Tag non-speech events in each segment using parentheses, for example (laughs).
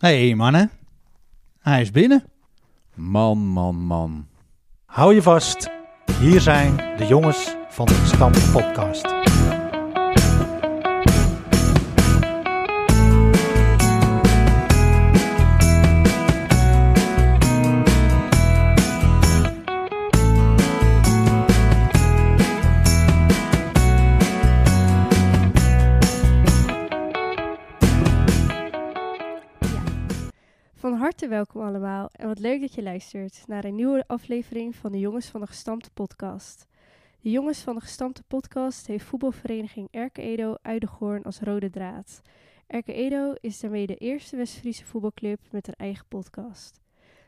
hey, mannen. Hij is binnen. Man, man, man. Hou je vast. Hier zijn de jongens van de Stam Podcast. Van harte welkom allemaal en wat leuk dat je luistert naar een nieuwe aflevering van de Jongens van de Gestampte podcast. De Jongens van de Gestampte podcast heeft voetbalvereniging Erke Edo uit de Goorn als rode draad. Erke Edo is daarmee de eerste West-Friese voetbalclub met een eigen podcast.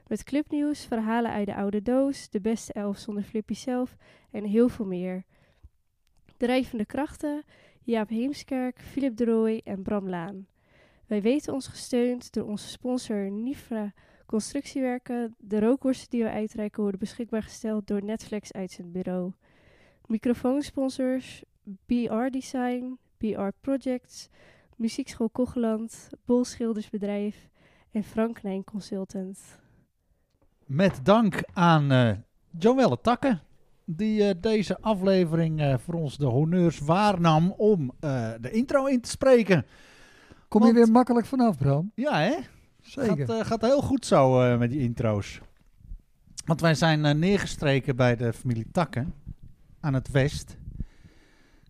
Met clubnieuws, verhalen uit de oude doos, de beste elf zonder Flippy zelf en heel veel meer. Drijvende krachten, Jaap Heemskerk, Philip de Rooij en Bram Laan. Wij weten ons gesteund door onze sponsor Nifra Constructiewerken. De rookworsten die we uitreiken worden beschikbaar gesteld door Netflix Uitzendbureau. Microfoonsponsors BR Design, BR Projects, Muziekschool Kogeland, Bol Schildersbedrijf en Frank Nijn Consultant. Met dank aan eh Joelle Takke, die eh, deze aflevering eh, voor ons de honneurs waarnam om eh, de intro in te spreken. Kom Want- je weer makkelijk vanaf, Bram? Ja, hè? Gaat, Zeker. eh, gaat heel goed zo eh, met die intro's. Want wij zijn eh, neergestreken bij de familie Takken aan het west.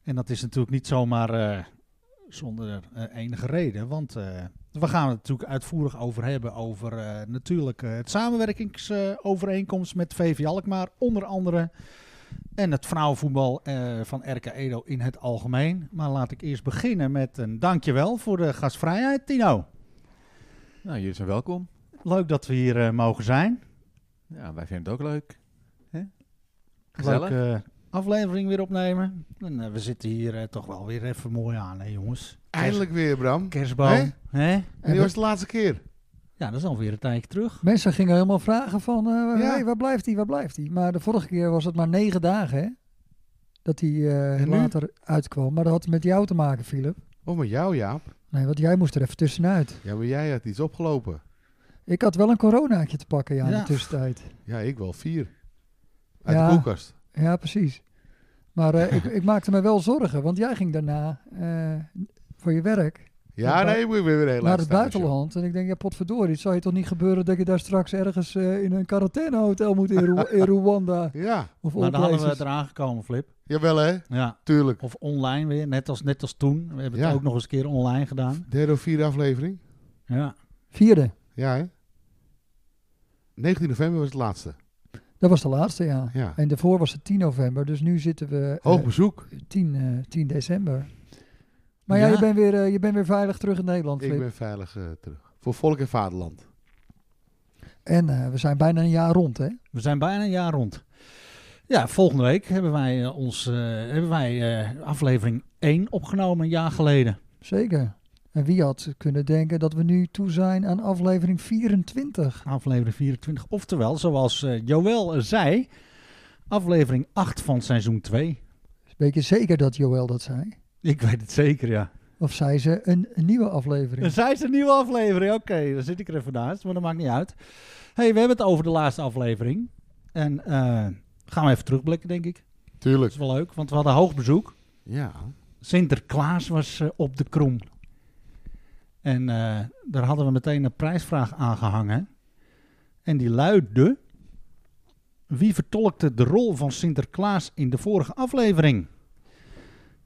En dat is natuurlijk niet zomaar eh, zonder eh, enige reden. Want eh, we gaan het natuurlijk uitvoerig over hebben. Over eh, natuurlijk eh, het samenwerkingsovereenkomst met VV Alkmaar, onder andere. En het vrouwenvoetbal eh, van RK Edo in het algemeen. Maar laat ik eerst beginnen met een dankjewel voor de gastvrijheid, Tino. Nou, jullie zijn welkom. Leuk dat we hier eh, mogen zijn. Ja, wij vinden het ook leuk. Hè? Gezellig. Leuke eh, aflevering weer opnemen. En eh, we zitten hier eh, toch wel weer even mooi aan, hè jongens. Eindelijk weer, Bram. Kerstboom. Hè? En dit was de laatste keer. Ja, dat is alweer een tijdje terug. Mensen gingen helemaal vragen van, eh, Ja. hey, waar blijft hij, waar blijft hij? Maar de vorige keer was het maar negen dagen, hè? Dat hij eh, En nu? later uitkwam. Maar dat had met jou te maken, Philip. Of met jou, Jaap. Nee, want jij moest er even tussenuit. Ja, maar jij had iets opgelopen. Ik had wel een coronaatje te pakken, ja, in Ja. de tussentijd. Ja, ik wel vier. Uit Ja. de koelkast. Ja, precies. Maar eh, ik, ik maakte me wel zorgen, want jij ging daarna eh, voor je werk Ja, Naar nee, ik moet weer weer heel naar laat het staan, buitenland. En ik denk, ja, potverdorie, het zal je toch niet gebeuren dat je daar straks ergens eh, in een quarantainehotel moet in, Ru- in Rwanda joh. Ja, of all Maar dan hadden we places. het eraan gekomen, Flip. jawel hè. Ja. Tuurlijk. Of online weer, net als, net als toen. We hebben Ja. het ook nog eens een keer online gedaan. Derde of vierde aflevering. Ja. Vierde. Ja, hè. 19 november was het laatste. Dat was de laatste, ja. Ja. Oh. En daarvoor was het 10 november, dus nu zitten we eh, Hoog bezoek. 10, eh, 10 december. Maar ja, Ja. je, bent weer, eh, je bent weer veilig terug in Nederland, Ik Flip. ben veilig eh, terug. Voor volk en vaderland. En eh, we zijn bijna een jaar rond, hè? We zijn bijna een jaar rond. Ja, volgende week hebben wij, eh, ons, eh, hebben wij eh, aflevering 1 opgenomen, een jaar geleden. Zeker. En wie had kunnen denken dat we nu toe zijn aan aflevering 24? Aflevering 24. Oftewel, zoals eh Joël zei, aflevering 8 van seizoen 2. Weet je zeker dat Joël dat zei? Ik weet het zeker, ja. Of zei ze een, een nieuwe aflevering? Dan zijn ze een nieuwe aflevering. Oké, dan zit ik er even naast, maar dat maakt niet uit. hey, we hebben het over de laatste aflevering. En eh, gaan we even terugblikken, denk ik. Dat Tuurlijk. is wel leuk, want we hadden hoog bezoek. Ja. Sinterklaas was eh, op de krom. En eh, daar hadden we meteen een prijsvraag aangehangen. En die luidde... Wie vertolkte de rol van Sinterklaas in de vorige aflevering?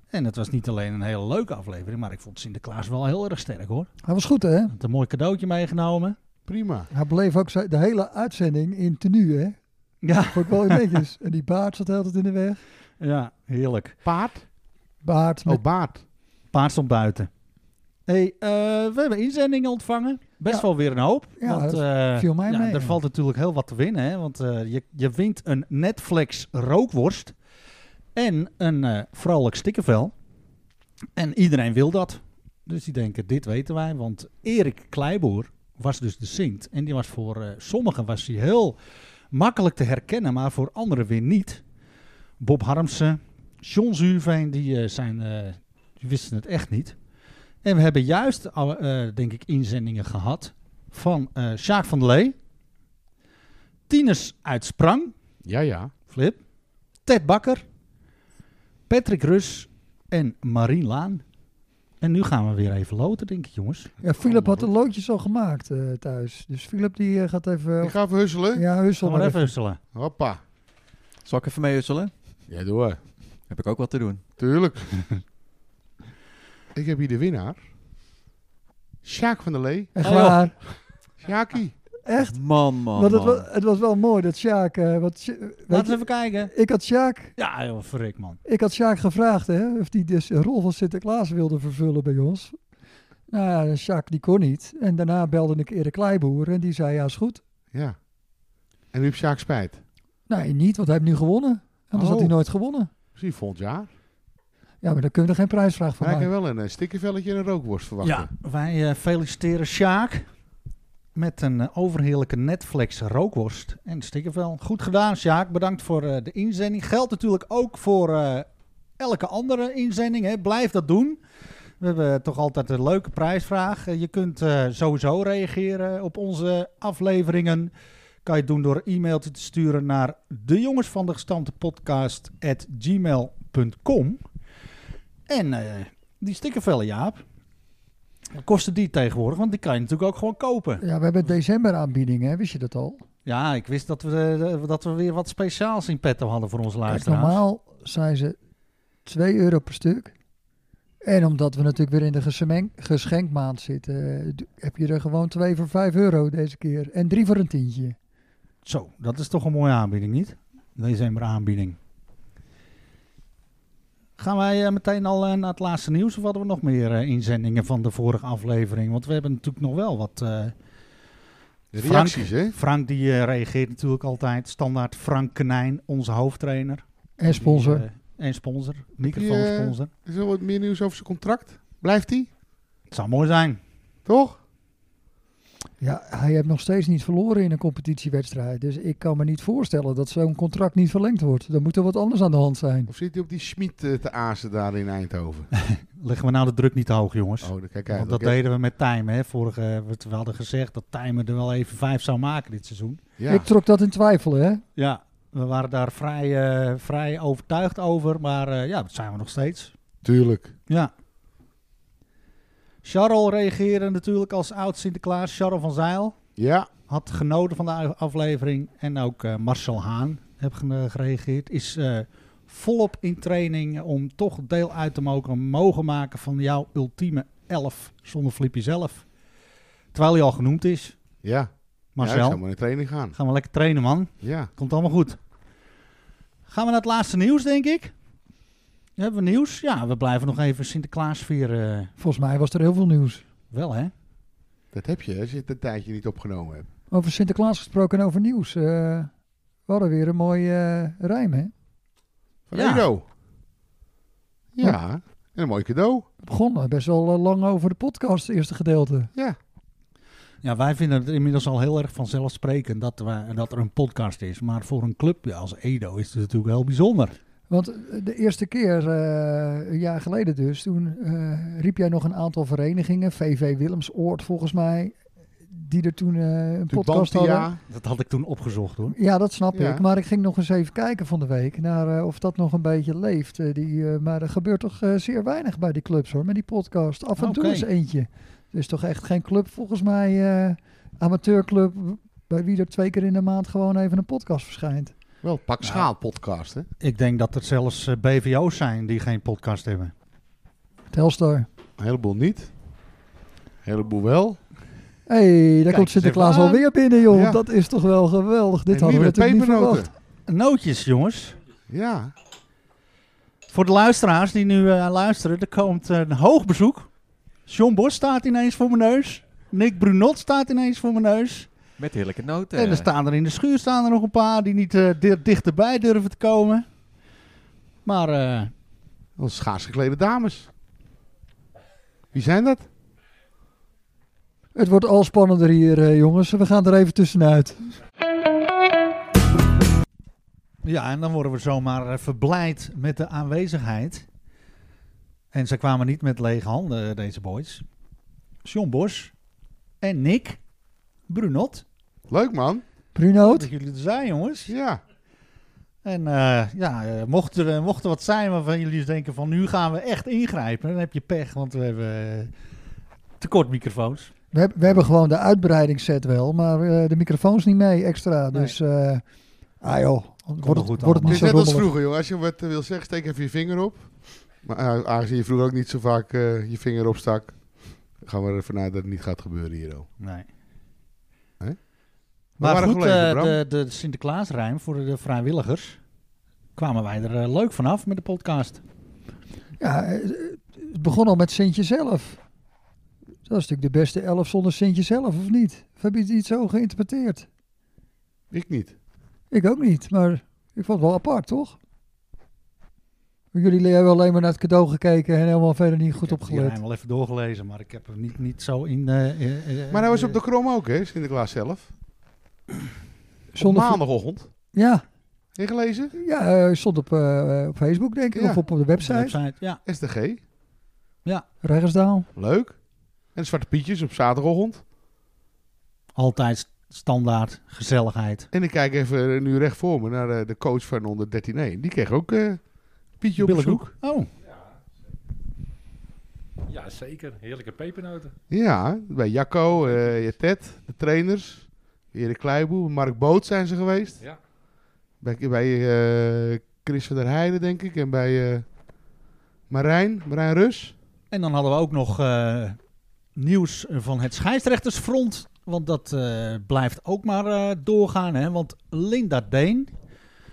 En het was niet alleen een hele leuke aflevering, maar ik vond Sinterklaas wel heel erg sterk hoor. Hij was goed, hè? Hij had een mooi cadeautje meegenomen. Prima. Hij bleef ook zo- de hele uitzending in tenue, hè? Ja, Vond ik wel netjes. En die baard zat altijd in de weg. ja heerlijk. Paard? Baard met Oh, baard. Paard stond buiten. hey, eh, we hebben inzendingen ontvangen. Best Ja. wel weer een hoop. Ja, want, dat eh, viel mij ja, mee, Er ja. valt natuurlijk heel wat te winnen. Hè? Want eh, je, je wint een Netflix rookworst. En een eh, vrolijk stikkenvel. En iedereen wil dat. Dus die denken, dit weten wij. Want Erik Kleiboer was dus de Sint. En die was voor eh, sommigen was hij heel makkelijk te herkennen. Maar voor anderen weer niet. Bob Harmsen, John Zuurveen, die, eh, zijn, eh, die wisten het echt niet. En we hebben juist, al, eh, denk ik, inzendingen gehad van eh Sjaak van der Lee. Tieners uit Sprang, Ja, ja. Flip. Ted Bakker. Patrick Rus en Marien Laan. En nu gaan we weer even loten, denk ik, jongens. Ja, Philip had de loodjes al gemaakt eh, thuis. Dus Philip die eh, gaat even... Ik ga even husselen. ja, hussel Zal maar maar even even. husselen. Hoppa. Zal ik even mee husselen? Ja, door. Heb ik ook wat te doen. Tuurlijk. (laughs) ik heb hier de winnaar. Sjaak van der Lee. Echt Ah, joh. waar. Sjaakie. Echt. Man, man, Want het man. was, het was wel mooi dat Sjaak... eh, wat, Sj- weet Laten we je, even kijken. ik had Sjaak... Ja, joh, verrik, man. Ik had Sjaak gevraagd hè, of hij dus een rol van Sinterklaas wilde vervullen bij ons. Nou ja, Sjaak die kon niet. En daarna belde ik Erik Kleiboer en die zei ja is goed. Ja. En nu heeft Sjaak spijt. Nee, niet, want hij heeft nu gewonnen. Anders had hij Oh. nooit gewonnen. Misschien volgend jaar. Ja, maar dan kunnen we er geen prijsvraag van Maar ik maken. kan wel een eh, stikkervelletje en een rookworst verwachten. Ja, wij eh, feliciteren Sjaak met een eh, overheerlijke Netflix rookworst en stikkervel. Goed gedaan, Sjaak. Bedankt voor eh, de inzending. Geldt natuurlijk ook voor eh, elke andere inzending. Hè. Blijf dat doen. We hebben toch altijd een leuke prijsvraag. Eh, je kunt eh, sowieso reageren op onze afleveringen. Kan je doen door een mailtje te sturen naar de jongens van de gestampte podcast En eh, die stikkervellen, Jaap. Wat kosten die tegenwoordig? Want die kan je natuurlijk ook gewoon kopen. Ja, we hebben december aanbiedingen, hè? wist je dat al? Ja, ik wist dat we, eh, dat we weer wat speciaals in petto hadden voor onze Kijk, luisteraars. normaal zijn ze 2 euro per stuk. En omdat we natuurlijk weer in de gesemeng- geschenkmaand zitten, eh, d- heb je er gewoon twee voor 5 euro deze keer. En drie voor een tientje. Zo, dat is toch een mooie aanbieding, niet? December aanbieding. Gaan wij eh, meteen al eh, naar het laatste nieuws? Of hadden we nog meer eh, inzendingen van de vorige aflevering? Want we hebben natuurlijk nog wel wat... eh, De reacties, hè? Frank die eh, reageert natuurlijk altijd. Standaard Frank Kenijn, onze hoofdtrainer. En sponsor. Die, eh, en sponsor. eh, Microfoonsponsor. Is er wat meer nieuws over zijn contract? Blijft hij? Het zou mooi zijn. Toch? Ja, hij heeft nog steeds niet verloren in een competitiewedstrijd. Dus ik kan me niet voorstellen dat zo'n contract niet verlengd wordt. Dan moet er wat anders aan de hand zijn. Of zit hij op die Schmid eh, te azen daar in (laughs) Eindhoven? Leggen we nou de druk niet te hoog, jongens. Oh, dan kijk Want uit. dat Oké. deden we met Time, hè? Vorige, eh, wat we hadden gezegd dat Time er wel even vijf zou maken dit seizoen. Ja. Ik trok dat in twijfel, hè? Ja, we waren daar vrij, eh, vrij overtuigd over, maar eh, ja, dat zijn we nog steeds. Tuurlijk. Ja. Charles reageerde natuurlijk als oud Sinterklaas. Charles van Zeil Ja. had genoten van de a- aflevering. En ook eh, Marcel Haan heeft ge- gereageerd. Is eh, volop in training om toch deel uit te mogen, mogen maken van jouw ultieme elf zonder Flippy zelf. Terwijl hij al genoemd is. Ja. Ja, ik Marcel, zou maar in training gaan. gaan we lekker trainen, man. Ja. Komt allemaal goed. Gaan we naar het laatste nieuws, denk ik. Hebben we nieuws? Ja, we blijven nog even Sinterklaas vieren. eh, Volgens mij was er heel veel nieuws. wel, hè? Dat heb je, hè, als je het een tijdje niet opgenomen hebt. Over Sinterklaas gesproken en over nieuws. eh, we hadden weer een mooie eh, rijm, hè? Van Ja. Edo. Ja. En een mooi cadeau. We begonnen best wel eh, lang over de podcast, het eerste gedeelte. Ja. Ja, wij vinden het inmiddels al heel erg vanzelfsprekend dat, we, dat er een podcast is. Maar voor een club ja, als Edo is het natuurlijk heel bijzonder. Want eh, de eerste keer, eh, een jaar geleden dus, toen eh, riep jij nog een aantal verenigingen. VV Willemsoord, volgens mij, die er toen eh, een podcast hadden. Tubantia. Dat had ik toen opgezocht, hoor. Ja, dat snap Ja. ik. Maar ik ging nog eens even kijken van de week naar eh, of dat nog een beetje leeft. Eh, die, eh, maar er gebeurt toch eh, zeer weinig bij die clubs hoor, met die podcast. Af en toe Oké. eens eentje. Er is toch echt geen club, volgens mij, eh, amateurclub, w- bij wie er twee keer in de maand gewoon even een podcast verschijnt. Wel, pak schaal podcast, hè? Ik denk dat er zelfs eh, BVO's zijn die geen podcast hebben. Telstar. Een heleboel niet. Een heleboel wel. hey, daar komt eens Sinterklaas even aan. alweer binnen joh. Ja. Dat is toch wel geweldig. Dit En hadden we nieuwe natuurlijk niet verwacht. Nootjes, jongens. Ja. Voor de luisteraars die nu eh, luisteren, er komt een hoog bezoek. John Bos staat ineens voor mijn neus. Nick Brunot staat ineens voor mijn neus. Met heerlijke noten. En er staan er in de schuur staan er nog een paar die niet eh, di- dichterbij durven te komen. Maar eh, Onze schaars geklede dames. Wie zijn dat? Het wordt al spannender hier eh, jongens. We gaan er even tussenuit. Ja, en dan worden we zomaar eh, verblijd met de aanwezigheid. En ze eh, kwamen niet met lege handen, deze boys. John Bos en Nick Brunot. Leuk man. Bruno, Dat jullie er zijn, jongens. Ja. En eh, ja, eh, mocht er, eh, mocht er wat zijn waarvan jullie denken van nu gaan we echt ingrijpen, dan heb je pech, want we hebben eh, tekort microfoons. we, heb- we hebben gewoon de uitbreidingsset wel, maar eh, de microfoons niet mee extra. Dus, eh ah joh, wordt het, goed wordt het Het niet is zo net als rommelig. vroeger, joh. Als je wat eh, wil zeggen, steek even je vinger op. Maar eh, aangezien je vroeger ook niet zo vaak eh, je vinger opstak, gaan we ervan uit dat het niet gaat gebeuren hier, joh. Nee. Hè? Maar waren goed, gelegen, eh, Bram. de, de Sinterklaasrijm voor de vrijwilligers kwamen wij er eh, leuk vanaf met de podcast. Ja, eh, het begon al met Sintje zelf. Dat was natuurlijk de beste elf zonder Sintje zelf, of niet? Of heb je het niet zo geïnterpreteerd? Ik niet. Ik ook niet, maar ik vond het wel apart, toch? Jullie hebben alleen maar naar het cadeau gekeken en helemaal verder niet goed ik heb die opgelet. rijm wel even doorgelezen, maar ik heb hem niet, niet zo in... eh, eh, eh, Maar hij was eh, op de krom ook, hè, Sinterklaas zelf. Op Zonder- maandagochtend. Ja, Ingelezen? ja eh, stond op, eh, op Facebook, denk ik, Ja. of op, op de op de website. eh, website. Ja, SDG. Regensdaal. Leuk. En Zwarte Pietjes op zaterdagochtend. altijd st- standaard gezelligheid. En ik kijk even eh, nu recht voor me naar eh, de coach van onder 13 1. Die kreeg ook eh, Pietje op Billenkoek. bezoek. Oh, Ja, zeker. Heerlijke pepernoten. Ja, bij Jacco, eh, je Ted, de trainers. Erik Kleiboe, Mark Boot zijn ze geweest. Ja. Bij, bij eh, Chris van der Heijden, denk ik. En bij eh, Marijn, Marijn Rus. En dan hadden we ook nog eh, nieuws van het scheidsrechtersfront. Want dat eh, blijft ook maar eh, doorgaan. Hè? Want Linda Deen,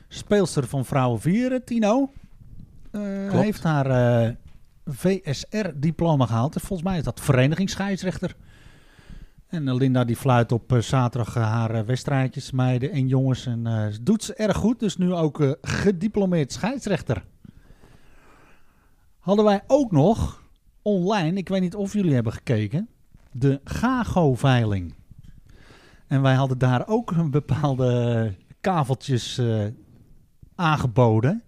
speelster van Vrouwen 4, eh, Tino, eh, Klopt. heeft haar eh, VSR-diploma gehaald. En volgens mij is dat verenigingsscheidsrechter. En eh, Linda die fluit op eh, zaterdag eh, haar eh, wedstrijdjes, meiden en jongens. En eh, ze doet ze erg goed. Dus nu ook eh, gediplomeerd scheidsrechter. Hadden wij ook nog online, ik weet niet of jullie hebben gekeken, de Gago-veiling. En wij hadden daar ook een bepaalde kaveltjes eh, aangeboden,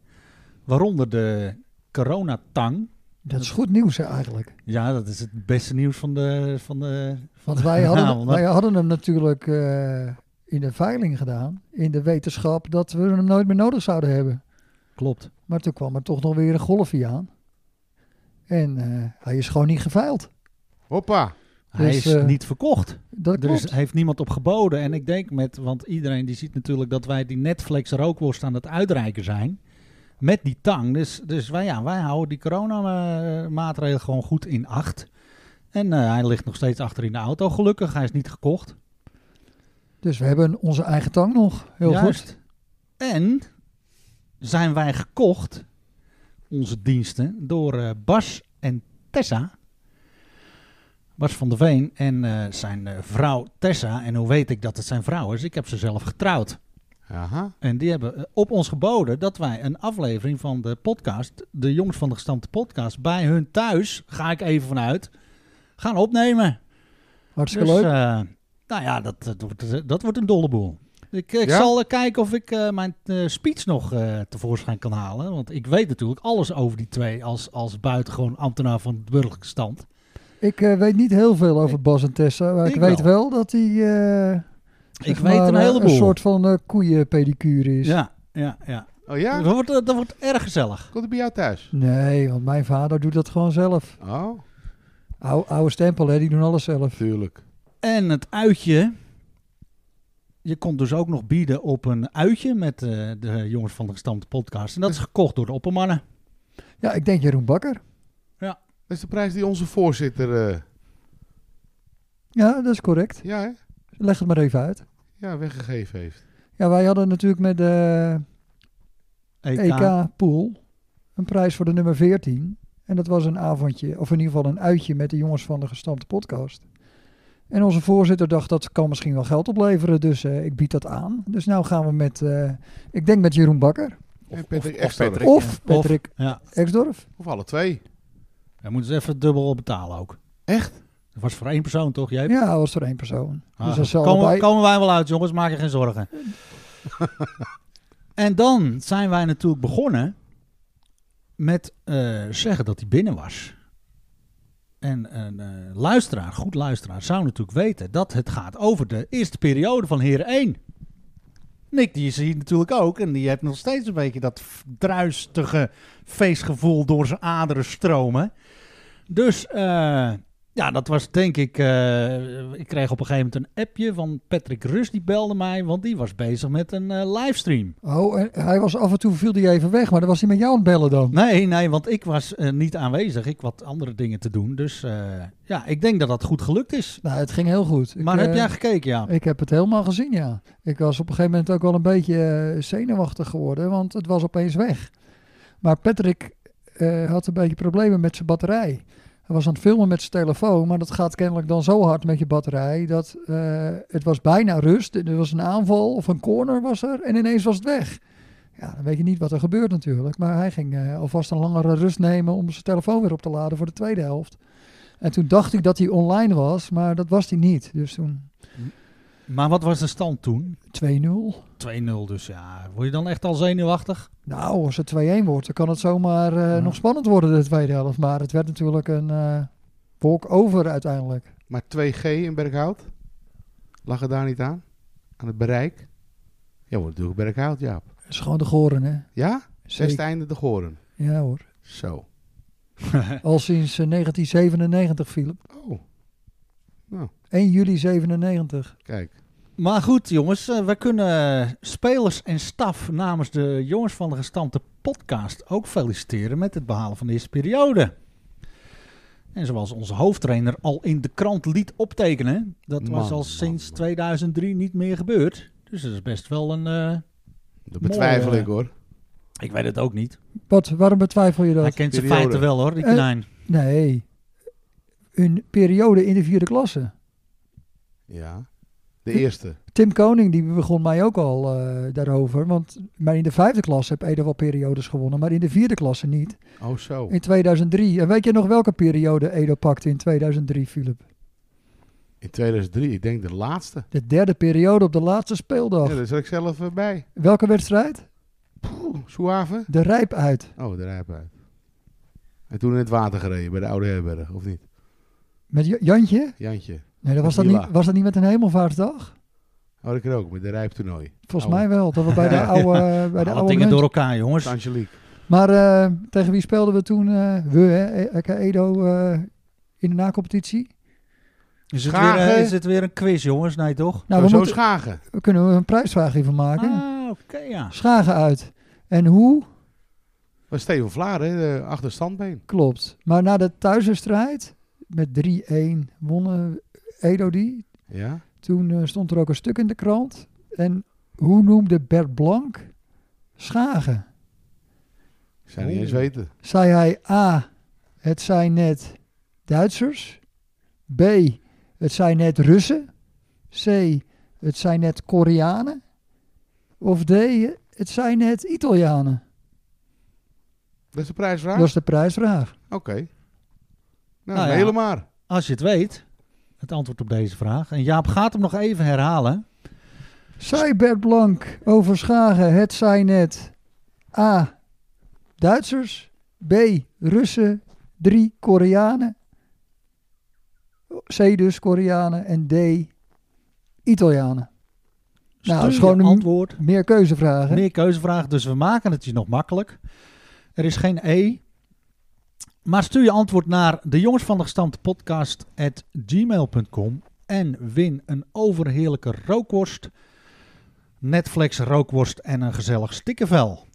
waaronder de coronatang. Dat is goed nieuws hè, eigenlijk. Ja, dat is het beste nieuws van de... Van de van Want (laughs) wij de hadden, avond, hè? wij hadden hem natuurlijk eh, in de veiling gedaan. In de wetenschap dat we hem nooit meer nodig zouden hebben. Klopt. Maar toen kwam er toch nog weer een golfje aan. En eh, hij is gewoon niet geveild. Hoppa. Hij Dus, is eh, niet verkocht. Dat Er klopt. is, heeft niemand op geboden. En ik denk met, want iedereen die ziet natuurlijk dat wij die Netflix rookworst aan het uitreiken zijn. Met die tang. Dus, dus wij, ja, wij houden die coronamaatregelen gewoon goed in acht. En eh, hij ligt nog steeds achter in de auto. Gelukkig, hij is niet gekocht. Dus we hebben onze eigen tang nog. Heel goed. Juist. En zijn wij gekocht, onze diensten, door eh, Bas en Tessa. Bas van der Veen en eh, zijn eh, vrouw Tessa. En hoe weet ik dat het zijn vrouw is? Ik heb ze zelf getrouwd. Aha. En die hebben eh, op ons geboden dat wij een aflevering van de podcast, de Jongens van de Gestampte Podcast, bij hun thuis, ga ik even vanuit, gaan opnemen. Hartstikke Dus, leuk. eh, nou ja, dat, dat, wordt, dat wordt een dolle boel. Ik, ik Ja? zal eh, kijken of ik eh, mijn eh, speech nog eh, tevoorschijn kan halen. Want ik weet natuurlijk alles over die twee als, als buitengewoon ambtenaar van de burgerlijke stand. Ik eh, weet niet heel veel over Bas en Tessa. Maar ik, Ik weet wel. wel dat hij... eh, Ik zeg weet maar, een eh, heleboel. Een soort van eh, koeienpedicure is. Ja, ja, ja. Oh ja? Dat, wordt, eh, dat wordt erg gezellig. Komt het bij jou thuis? Nee, want mijn vader doet dat gewoon zelf. Oh, Ou, oude stempel, hè, die doen alles zelf. tuurlijk. En het uitje. Je kon dus ook nog bieden op een uitje met eh, de Jongens van de Gestampte Podcast. En dat is gekocht door de oppermannen. Ja, ik denk Jeroen Bakker. Dat is de prijs die onze voorzitter... eh, Ja, dat is correct. ja, hè? Leg het maar even uit. ja, weggegeven heeft. Ja, wij hadden natuurlijk met eh, de EK. E EK-pool een prijs voor de nummer 14. En dat was een avondje, of in ieder geval een uitje met de jongens van de gestampte podcast. En onze voorzitter dacht, dat kan misschien wel geld opleveren, dus eh, ik bied dat aan. Dus nou gaan we met, eh, ik denk met Jeroen Bakker. En Patrick of Exter. Patrick. Of Patrick Ja, Exdorf. Of alle twee. daar moeten ze even dubbel op betalen ook. Echt? Dat was voor één persoon toch, jij? Ja, dat was voor één persoon. Ah, dus dat zal komen, bij... komen wij wel uit, jongens, maak je geen (laughs) zorgen. en dan zijn wij natuurlijk begonnen met eh, zeggen dat hij binnen was. En een eh, luisteraar, goed luisteraar, zou natuurlijk weten dat het gaat over de eerste periode van Heren 1. Nick, die is hier natuurlijk ook. En die heeft nog steeds een beetje dat f- druistige feestgevoel door zijn aderen stromen. Dus eh, ja, dat was denk ik. eh, ik kreeg op een gegeven moment een appje van Patrick Rus. Die belde mij, want die was bezig met een eh, livestream. Oh, en hij was af en toe viel hij even weg, maar dan was hij met jou aan het bellen dan. Nee, nee, want ik was eh, niet aanwezig. Ik had andere dingen te doen. Dus eh, ja, ik denk dat dat goed gelukt is. Nou, het ging heel goed. Ik, Maar heb eh, jij gekeken, ja? Ik heb het helemaal gezien, ja. Ik was op een gegeven moment ook wel een beetje eh, zenuwachtig geworden, want het was opeens weg. Maar Patrick eh, had een beetje problemen met zijn batterij. Hij was aan het filmen met zijn telefoon, maar dat gaat kennelijk dan zo hard met je batterij dat eh, het was bijna rust. Er was een aanval of een corner was er en ineens was het weg. Ja, dan weet je niet wat er gebeurt natuurlijk. Maar hij ging eh, alvast een langere rust nemen om zijn telefoon weer op te laden voor de tweede helft. En toen dacht ik dat hij online was, maar dat was hij niet. Dus toen Maar wat was de stand toen? 2-0. 2-0 dus, ja. Word je dan echt al zenuwachtig? Nou, als het 2-1 wordt, dan kan het zomaar eh, Ja. nog spannend worden, de tweede helft. Maar het werd natuurlijk een eh walk over uiteindelijk. Maar 2G in Berghout? Lag het daar niet aan? Aan het bereik? Ja, wordt natuurlijk Berghout, Jaap. Het is gewoon de goren, hè? Ja? Zesde Zeker. einde de Goren. Ja hoor. Zo. Al sinds eh, 1997, Philip. Oh, 1 juli 97. kijk. Maar goed, jongens, eh, wij kunnen spelers en staf namens de Jongens van de Gestampte podcast ook feliciteren met het behalen van de eerste periode. En zoals onze hoofdtrainer al in de krant liet optekenen, dat was Man, al man, sinds man. 2003 niet meer gebeurd. Dus dat is best wel een. eh, Dat betwijfel Mooi, ik hoor. ik weet het ook niet. Wat, waarom betwijfel je Hij dat? kent zijn periode. feiten wel hoor, die Eh, knijn. Nee. Een periode in de vierde klasse. Ja. De eerste. Tim Koning die begon mij ook al eh, daarover. Want maar in de vijfde klasse heb Ede wel periodes gewonnen, maar in de vierde klasse niet. Oh, zo. In 2003. En weet je nog welke periode Edo pakte in 2003, Philip? In 2003, ik denk de laatste. De derde periode op de laatste speeldag. Ja, daar zat ik zelf eh, bij. Welke wedstrijd? Poeh, Suave. De Rijp uit. Oh, de rijbuit. En toen in het water gereden bij de Oude Herberg, of niet? Met J- Jantje? Jantje. Nee, dat was, dat Mila. niet, was dat niet met een hemelvaartsdag? Oh, ik er ook, met de rijptoernooi. Volgens Oude. mij wel. Dat we bij de Oh. (laughs) Ja. oude... eh, Bij de Alle oude dingen munt. door elkaar, jongens. Het Angelique. Maar eh, tegen wie speelden we toen? eh, we, hè? E- Aka Edo eh, in de nacompetitie? Is het, weer, Schagen. eh, is het weer een quiz, jongens? Nee, toch? Nou, we, Sowieso moeten, Schagen. we kunnen er een prijsvraag hiervan maken. Ah, oké, ja. Schagen uit. En hoe? Was Steven Vlaar, hè, de achterstandbeen. Klopt. Maar na de thuiswedstrijd met 3-1 wonnen Edo die. Ja? Toen eh, stond er ook een stuk in de krant. En hoe noemde Bert Blank Schagen? Ik zou niet eens weten. Zei hij A, het zijn net Duitsers. B, het zijn net Russen. C, het zijn net Koreanen. Of D, het zijn net Italianen. Dat is de prijsvraag? Dat is de prijsvraag. Oké. Nou, Nou ja. helemaal. Als je het weet, het antwoord op deze vraag. En Jaap gaat hem nog even herhalen. Zei Bert Blank over Schagen, het zijn net A, Duitsers. B, Russen. 3, Koreanen. C dus Koreanen. En D, Italianen. Nou, Stuur is gewoon je een- antwoord. Meer keuzevragen. Meer keuzevragen, dus we maken het je nog makkelijk. Er is geen E. Maar stuur je antwoord naar de jongens van de gestampte podcast at gmail.com en win een overheerlijke rookworst, Netflix rookworst en een gezellig stikkenvel.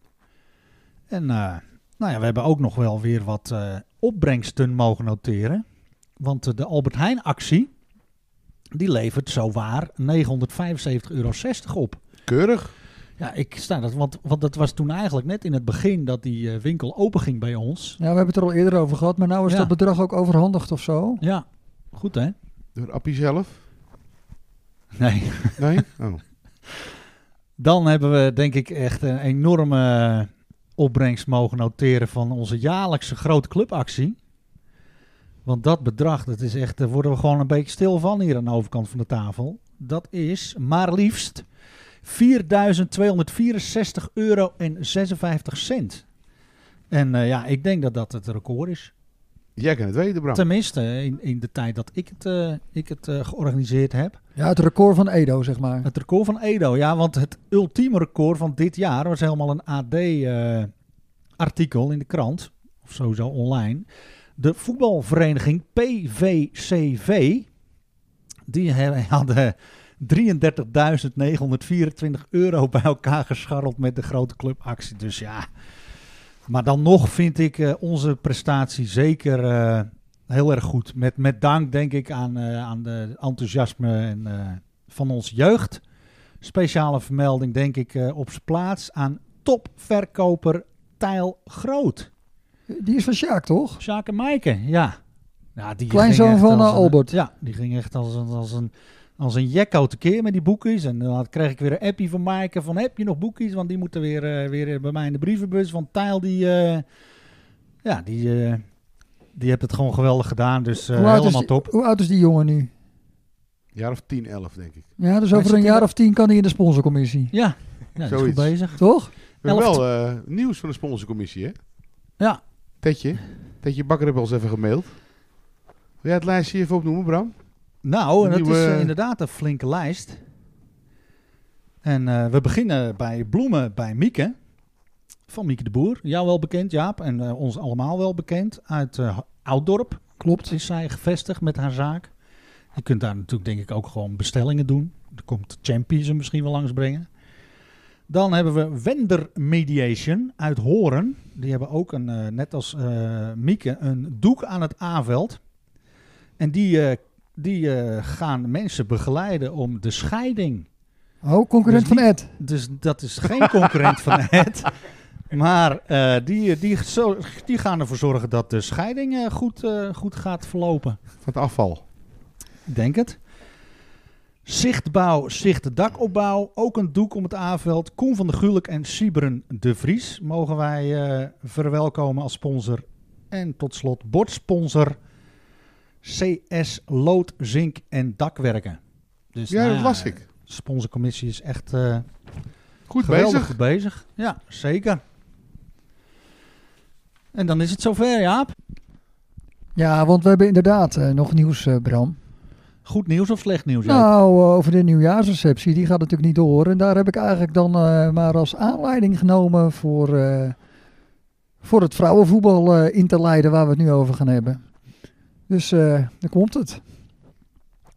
En eh, nou ja, we hebben ook nog wel weer wat eh, opbrengsten mogen noteren. Want eh, de Albert Heijn actie, die levert zowaar 975,60 euro op. Keurig. Ja, ik sta dat, want, want dat was toen eigenlijk net in het begin dat die eh, winkel openging bij ons. Nou, we hebben het er al eerder over gehad, maar nou is Ja. dat bedrag ook overhandigd of zo. Ja, goed hè? (laughs) Door Appie zelf. Nee. Nee? (laughs) Oh. Dan hebben we denk ik echt een enorme eh, opbrengst mogen noteren van onze jaarlijkse grote clubactie. Want dat bedrag, dat is echt, daar worden we gewoon een beetje stil van hier aan de overkant van de tafel. Dat is maar liefst 4.264 euro en 56 cent. En eh, ja, ik denk dat dat het record is. Jij kan het weten, Bram. Tenminste, in, in de tijd dat ik het, eh, ik het eh, georganiseerd heb. Ja, het record van Edo, zeg maar. Het record van Edo, ja, want het ultieme record van dit jaar was helemaal een AD-artikel in de krant, of sowieso online. De voetbalvereniging PVCV, die he- hadden 33.924 euro (laughs) bij elkaar gescharreld met de grote clubactie. Dus ja, maar dan nog vind ik eh, onze prestatie zeker eh, heel erg goed. Met, met dank denk ik aan, eh, aan de enthousiasme en... eh, van ons jeugd. Speciale vermelding, denk ik, eh, op zijn plaats aan topverkoper Tijl Groot. Die is van Sjaak, toch? Sjaak en Maaike, ja. ja die Kleinzoon ging echt van, als eh, een- Albert. Ja, die ging echt als een, als een, als een jekko tekeer met die boekjes. En dan had- kreeg ik weer een appie van Maaike van heb je nog boekjes? Want die moeten weer, eh, weer bij mij in de brievenbus. Want Tijl die, eh, ja, die, eh, die heeft het gewoon geweldig gedaan. Dus eh, hoe, oud is helemaal die, top. hoe oud is die jongen nu? Jaar of 10, 11 denk ik. Ja, dus Hij over zit een in jaar de- of tien kan hij in de sponsorcommissie. Ja, ja die is goed Zoiets. bezig. Toch? We hebben Elf- wel eh, nieuws van de sponsorcommissie, hè? Ja. Tetje. Tetje Bakker heeft ons even gemaild. Wil jij het lijstje even opnoemen, Bram? Nou, en dat Nieuwe- is eh, inderdaad een flinke lijst. En eh, we beginnen bij bloemen bij Mieke. Van Mieke de Boer. Jou wel bekend, Jaap. En eh, ons allemaal wel bekend. Uit eh, Ouddorp. Klopt. Is zij gevestigd met haar zaak. Je kunt daar natuurlijk denk ik ook gewoon bestellingen doen. Er komt Champions hem misschien wel langsbrengen. Dan hebben we Wender Mediation uit Horen. Die hebben ook, een, eh, net als eh, Mieke, een doek aan het aanveld. En die eh, die eh, gaan mensen begeleiden om de scheiding. Oh, concurrent Dus die- van Ed. Dus dat is geen concurrent van (laughs) het. Maar eh, die, die, zo- die gaan ervoor zorgen dat de scheiding eh, goed, eh, goed gaat verlopen. Van het afval. Ik denk het. Zichtbouw, zichtdakopbouw. Ook een doek om het aanveld. Koen van de Gulik en Siebren de Vries mogen wij eh, verwelkomen als sponsor. En tot slot bordsponsor CS Lood, Zink en Dakwerken. Dus, Ja, nou dat las ik. De sponsorcommissie is echt eh, Goed geweldig bezig. bezig. Ja, zeker. En dan is het zover, Jaap. Ja, want we hebben inderdaad eh, nog nieuws, eh, Bram. Goed nieuws of slecht nieuws? Jaap? Nou, eh, over de nieuwjaarsreceptie, die gaat natuurlijk niet door. En daar heb ik eigenlijk dan eh, maar als aanleiding genomen voor, eh, voor het vrouwenvoetbal eh, in te leiden waar we het nu over gaan hebben. Dus eh, daar komt het.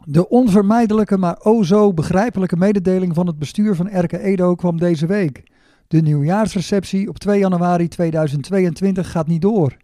De onvermijdelijke, maar o zo begrijpelijke mededeling van het bestuur van Erke Edo kwam deze week. De nieuwjaarsreceptie op 2 januari 2022 gaat niet door.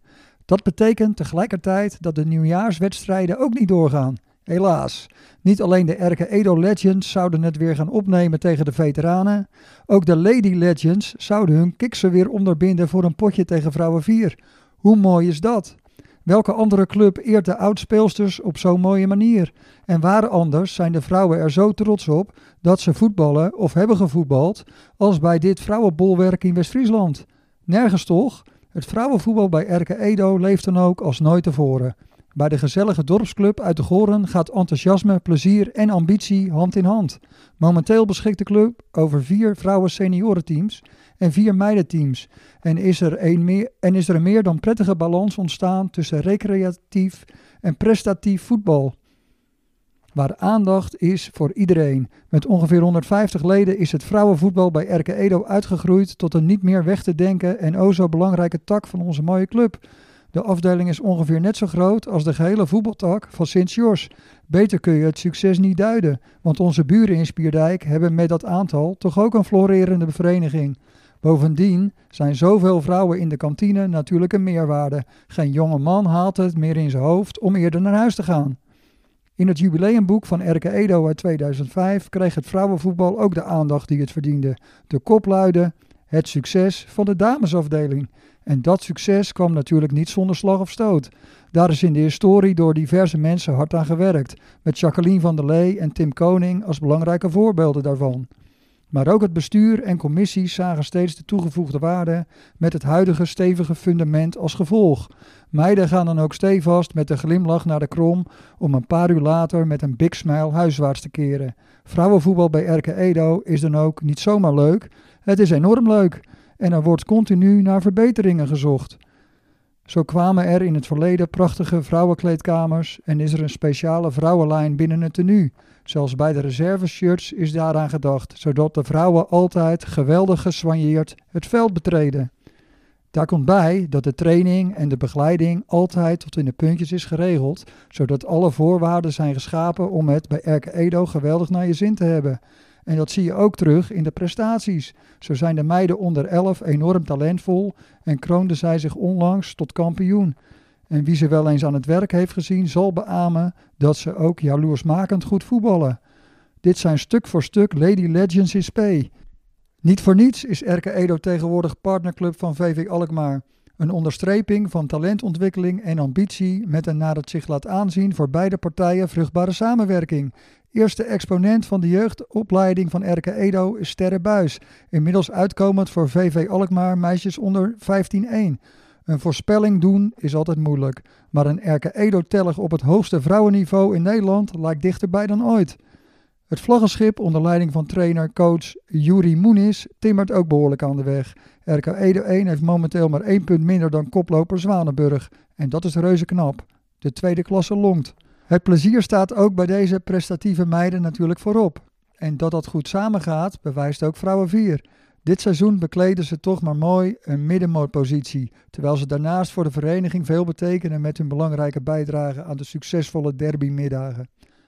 Dat betekent tegelijkertijd dat de nieuwjaarswedstrijden ook niet doorgaan. Helaas. Niet alleen de Erke Edo Legends zouden het weer gaan opnemen tegen de veteranen, ook de Lady Legends zouden hun kiksen weer onderbinden voor een potje tegen Vrouwen 4. Hoe mooi is dat? Welke andere club eert de oudspeelsters op zo'n mooie manier? En waar anders zijn de vrouwen er zo trots op dat ze voetballen of hebben gevoetbald als bij dit vrouwenbolwerk in West-Friesland? Nergens toch? Het vrouwenvoetbal bij Erke Edo leeft dan ook als nooit tevoren. Bij de gezellige dorpsclub uit de Goren gaat enthousiasme, plezier en ambitie hand in hand. Momenteel beschikt de club over vier vrouwen seniorenteams en vier meidenteams. En is er, een meer, en is er een meer dan prettige balans ontstaan tussen recreatief en prestatief voetbal. Waar aandacht is voor iedereen. Met ongeveer 150 leden is het vrouwenvoetbal bij Erke Edo uitgegroeid tot een niet meer weg te denken en o zo belangrijke tak van onze mooie club. De afdeling is ongeveer net zo groot als de gehele voetbaltak van Sint-Jors. Beter kun je het succes niet duiden, want onze buren in Spierdijk hebben met dat aantal toch ook een florerende vereniging. Bovendien zijn zoveel vrouwen in de kantine natuurlijk een meerwaarde. Geen jonge man haalt het meer in zijn hoofd om eerder naar huis te gaan. In het jubileumboek van Erke Edo uit 2005 kreeg het vrouwenvoetbal ook de aandacht die het verdiende. De kop luidde: Het succes van de damesafdeling. En dat succes kwam natuurlijk niet zonder slag of stoot. Daar is in de historie door diverse mensen hard aan gewerkt, met Jacqueline van der Lee en Tim Koning als belangrijke voorbeelden daarvan. Maar ook het bestuur en commissies zagen steeds de toegevoegde waarde met het huidige stevige fundament als gevolg. Meiden gaan dan ook stevast met een glimlach naar de krom om een paar uur later met een big smile huiswaarts te keren. Vrouwenvoetbal bij Erke Edo is dan ook niet zomaar leuk, het is enorm leuk en er wordt continu naar verbeteringen gezocht. Zo kwamen er in het verleden prachtige vrouwenkleedkamers en is er een speciale vrouwenlijn binnen het tenue. Zelfs bij de reserveshirts is daaraan gedacht, zodat de vrouwen altijd geweldig geswanjeerd het veld betreden. Daar komt bij dat de training en de begeleiding altijd tot in de puntjes is geregeld, zodat alle voorwaarden zijn geschapen om het bij Erke Edo geweldig naar je zin te hebben. En dat zie je ook terug in de prestaties. Zo zijn de meiden onder 11 enorm talentvol en kroonden zij zich onlangs tot kampioen. En wie ze wel eens aan het werk heeft gezien, zal beamen dat ze ook jaloersmakend goed voetballen. Dit zijn stuk voor stuk Lady Legends in spe. Niet voor niets is Erke Edo tegenwoordig partnerclub van VV Alkmaar. Een onderstreping van talentontwikkeling en ambitie met een naar het zich laat aanzien voor beide partijen vruchtbare samenwerking. Eerste exponent van de jeugdopleiding van Erke Edo is Sterre Buis, inmiddels uitkomend voor VV Alkmaar meisjes onder 15-1. Een voorspelling doen is altijd moeilijk, maar een Erke Edo tellig op het hoogste vrouwenniveau in Nederland lijkt dichterbij dan ooit. Het vlaggenschip onder leiding van trainer coach Juri Moenis timmert ook behoorlijk aan de weg. RK Edo 1 heeft momenteel maar één punt minder dan koploper Zwanenburg. En dat is reuze knap. De tweede klasse longt. Het plezier staat ook bij deze prestatieve meiden natuurlijk voorop. En dat dat goed samengaat, bewijst ook Vrouwen 4. Dit seizoen bekleden ze toch maar mooi een middenmootpositie, terwijl ze daarnaast voor de vereniging veel betekenen met hun belangrijke bijdrage aan de succesvolle derbymiddagen.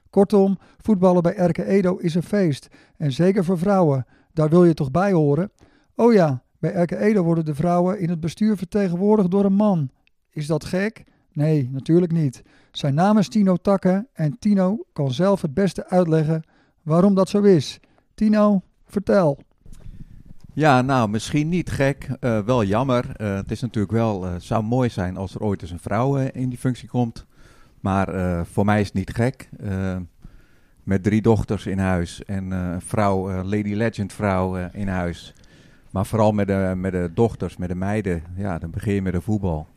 Kortom, voetballen bij Erke Edo is een feest. En zeker voor vrouwen, daar wil je toch bij horen? Oh ja, bij Erke Edo worden de vrouwen in het bestuur vertegenwoordigd door een man. Is dat gek? Nee, natuurlijk niet. Zijn naam is Tino Takke en Tino kan zelf het beste uitleggen waarom dat zo is. Tino, vertel. Ja, nou, misschien niet gek, eh, wel jammer. Eh, het is natuurlijk wel, eh, zou mooi zijn als er ooit eens een vrouw eh, in die functie komt. Maar eh, voor mij is het niet gek. Eh, met drie dochters in huis en eh, een vrouw, eh, Lady Legend vrouw eh, in huis. Maar vooral met de, met de dochters, met de meiden. Ja, dan begin je met de voetbal.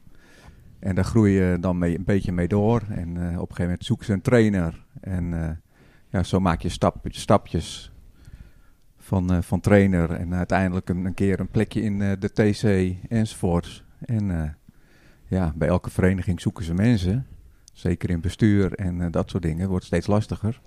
En daar groei je dan mee, een beetje mee door. En eh, op een gegeven moment zoek ze een trainer. En eh, ja, zo maak je stap, stapjes van, eh, van trainer en uiteindelijk een, een keer een plekje in eh, de TC enzovoorts. En eh, ja, bij elke vereniging zoeken ze mensen, zeker in bestuur en eh, dat soort dingen, wordt steeds lastiger.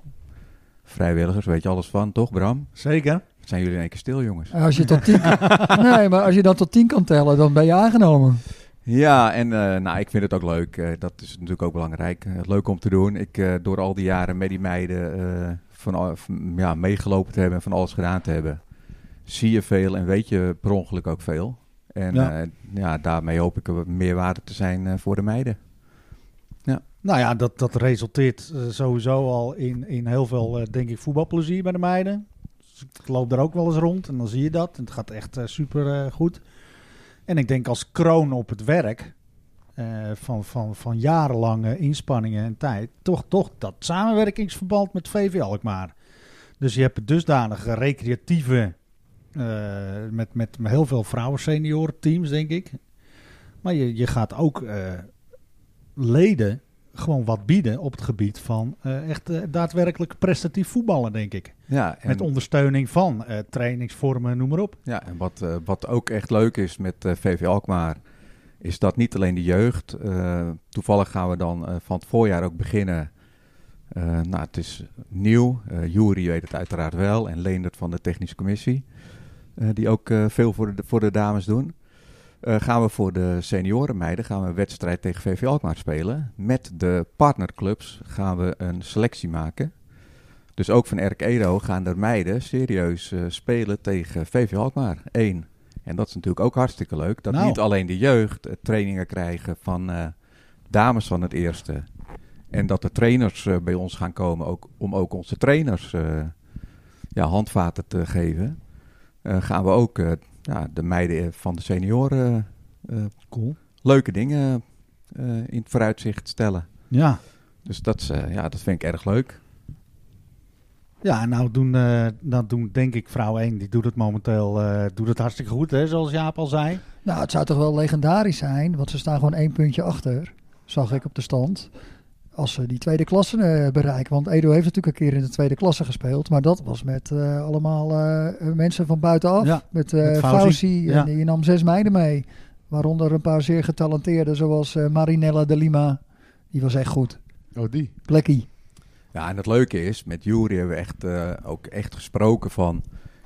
Vrijwilligers, weet je alles van, toch Bram? Zeker. Wat Zijn jullie in één keer stil, jongens? Als je tot (laughs) tien kan, nee, maar als je dan tot tien kan tellen, dan ben je aangenomen. Ja, en eh, nou, ik vind het ook leuk. Eh, dat is natuurlijk ook belangrijk. Eh, leuk om te doen. Ik, eh, door al die jaren met die meiden eh, van, al- van- ja, meegelopen te hebben en van alles gedaan te hebben, zie je veel en weet je per ongeluk ook veel. En Ja. ja, ja, daarmee hoop ik er wat meer waarde te zijn eh, voor de meiden. Nou ja, dat, dat resulteert eh, sowieso al in, in heel veel, eh, denk ik, voetbalplezier bij de meiden. Dus ik loop daar ook wel eens rond en dan zie je dat. En het gaat echt eh, super eh, goed. En ik denk als kroon op het werk eh, van, van, van jarenlange inspanningen en tijd, toch, toch dat samenwerkingsverband met VV Alkmaar. Dus je hebt het dusdanige recreatieve, eh, met, met heel veel vrouwen senioren teams, denk ik. Maar je, je gaat ook eh, leden gewoon wat bieden op het gebied van eh, echt eh, daadwerkelijk prestatief voetballen, denk ik. Ja, en, Met ondersteuning van eh, trainingsvormen, noem maar op. ja, en wat, eh, wat ook echt leuk is met eh, VV Alkmaar, is dat niet alleen de jeugd. eh, toevallig gaan we dan eh, van het voorjaar ook beginnen. Eh, nou, het is nieuw. Eh Jury weet het uiteraard wel. En Leendert van de Technische Commissie. eh, die ook eh, veel voor de, voor de dames doen. Eh, gaan we voor de seniorenmeiden gaan we een wedstrijd tegen VV Alkmaar spelen. Met de partnerclubs gaan we een selectie maken. Dus ook van Erk Edo gaan er meiden serieus eh, spelen tegen VV Alkmaar 1. En dat is natuurlijk ook hartstikke leuk. Dat Nou. niet alleen de jeugd eh, trainingen krijgen van eh, dames van het eerste. En dat de trainers eh, bij ons gaan komen ook, om ook onze trainers eh, ja, handvaten te geven. Eh, gaan we ook eh, ja, de meiden eh, van de senioren eh, eh, Cool. leuke dingen eh, in het vooruitzicht stellen. Ja. Dus dat, is, eh, ja, dat vind ik erg leuk. Ja, en nou doen, eh, nou doen denk ik vrouw 1, die doet het momenteel eh, doet het hartstikke goed, hè, zoals Jaap al zei. Nou, het zou toch wel legendarisch zijn, want ze staan gewoon één puntje achter, zag ik op de stand. Als ze die tweede klasse eh, bereiken. Want Edo heeft natuurlijk een keer in de tweede klasse gespeeld. Maar dat was met eh, allemaal eh, mensen van buitenaf. Ja, met eh met Fauzi. Fauzi. En Ja. die nam zes meiden mee. Waaronder een paar zeer getalenteerden, zoals eh, Marinella de Lima. Die was echt goed. Oh, die. Plekkie. Ja, en het leuke is, met Jury hebben we echt, eh, ook echt gesproken van...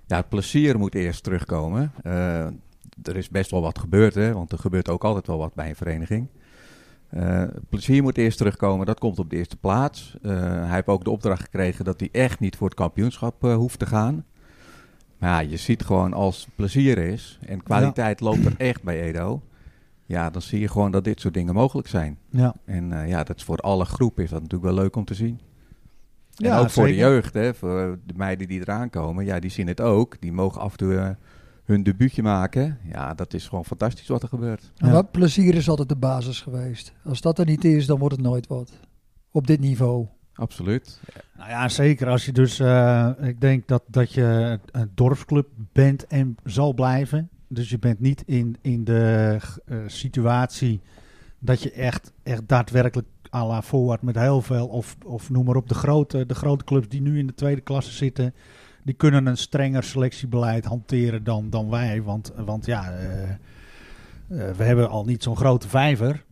Ja, het plezier moet eerst terugkomen. Eh, er is best wel wat gebeurd, hè, want er gebeurt ook altijd wel wat bij een vereniging. Eh, het plezier moet eerst terugkomen, dat komt op de eerste plaats. Eh, hij heeft ook de opdracht gekregen dat hij echt niet voor het kampioenschap eh, hoeft te gaan. Maar ja, je ziet gewoon als het plezier is en kwaliteit loopt er echt bij Edo... Ja, dan zie je gewoon dat dit soort dingen mogelijk zijn. Ja, En eh, ja, dat is voor alle groepen is dat natuurlijk wel leuk om te zien. En Ja, ook voor de zeker. jeugd, hè, voor de meiden die eraan komen, ja, die zien het ook. Die mogen af en toe eh, hun debuutje maken. Ja, dat is gewoon fantastisch wat er gebeurt. En Ja. wat plezier is altijd de basis geweest. Als dat er niet is, dan wordt het nooit wat. Op dit niveau. Absoluut. nou ja, zeker als je dus, eh, ik denk dat, dat je een dorpsclub bent en zal blijven. Dus je bent niet in, in de eh, situatie dat je echt, echt daadwerkelijk à la Forward met heel veel, of, of noem maar op, de grote, de grote clubs die nu in de tweede klasse zitten, die kunnen een strenger selectiebeleid hanteren dan, dan wij. Want, want ja, eh, eh, we hebben al niet zo'n grote vijver.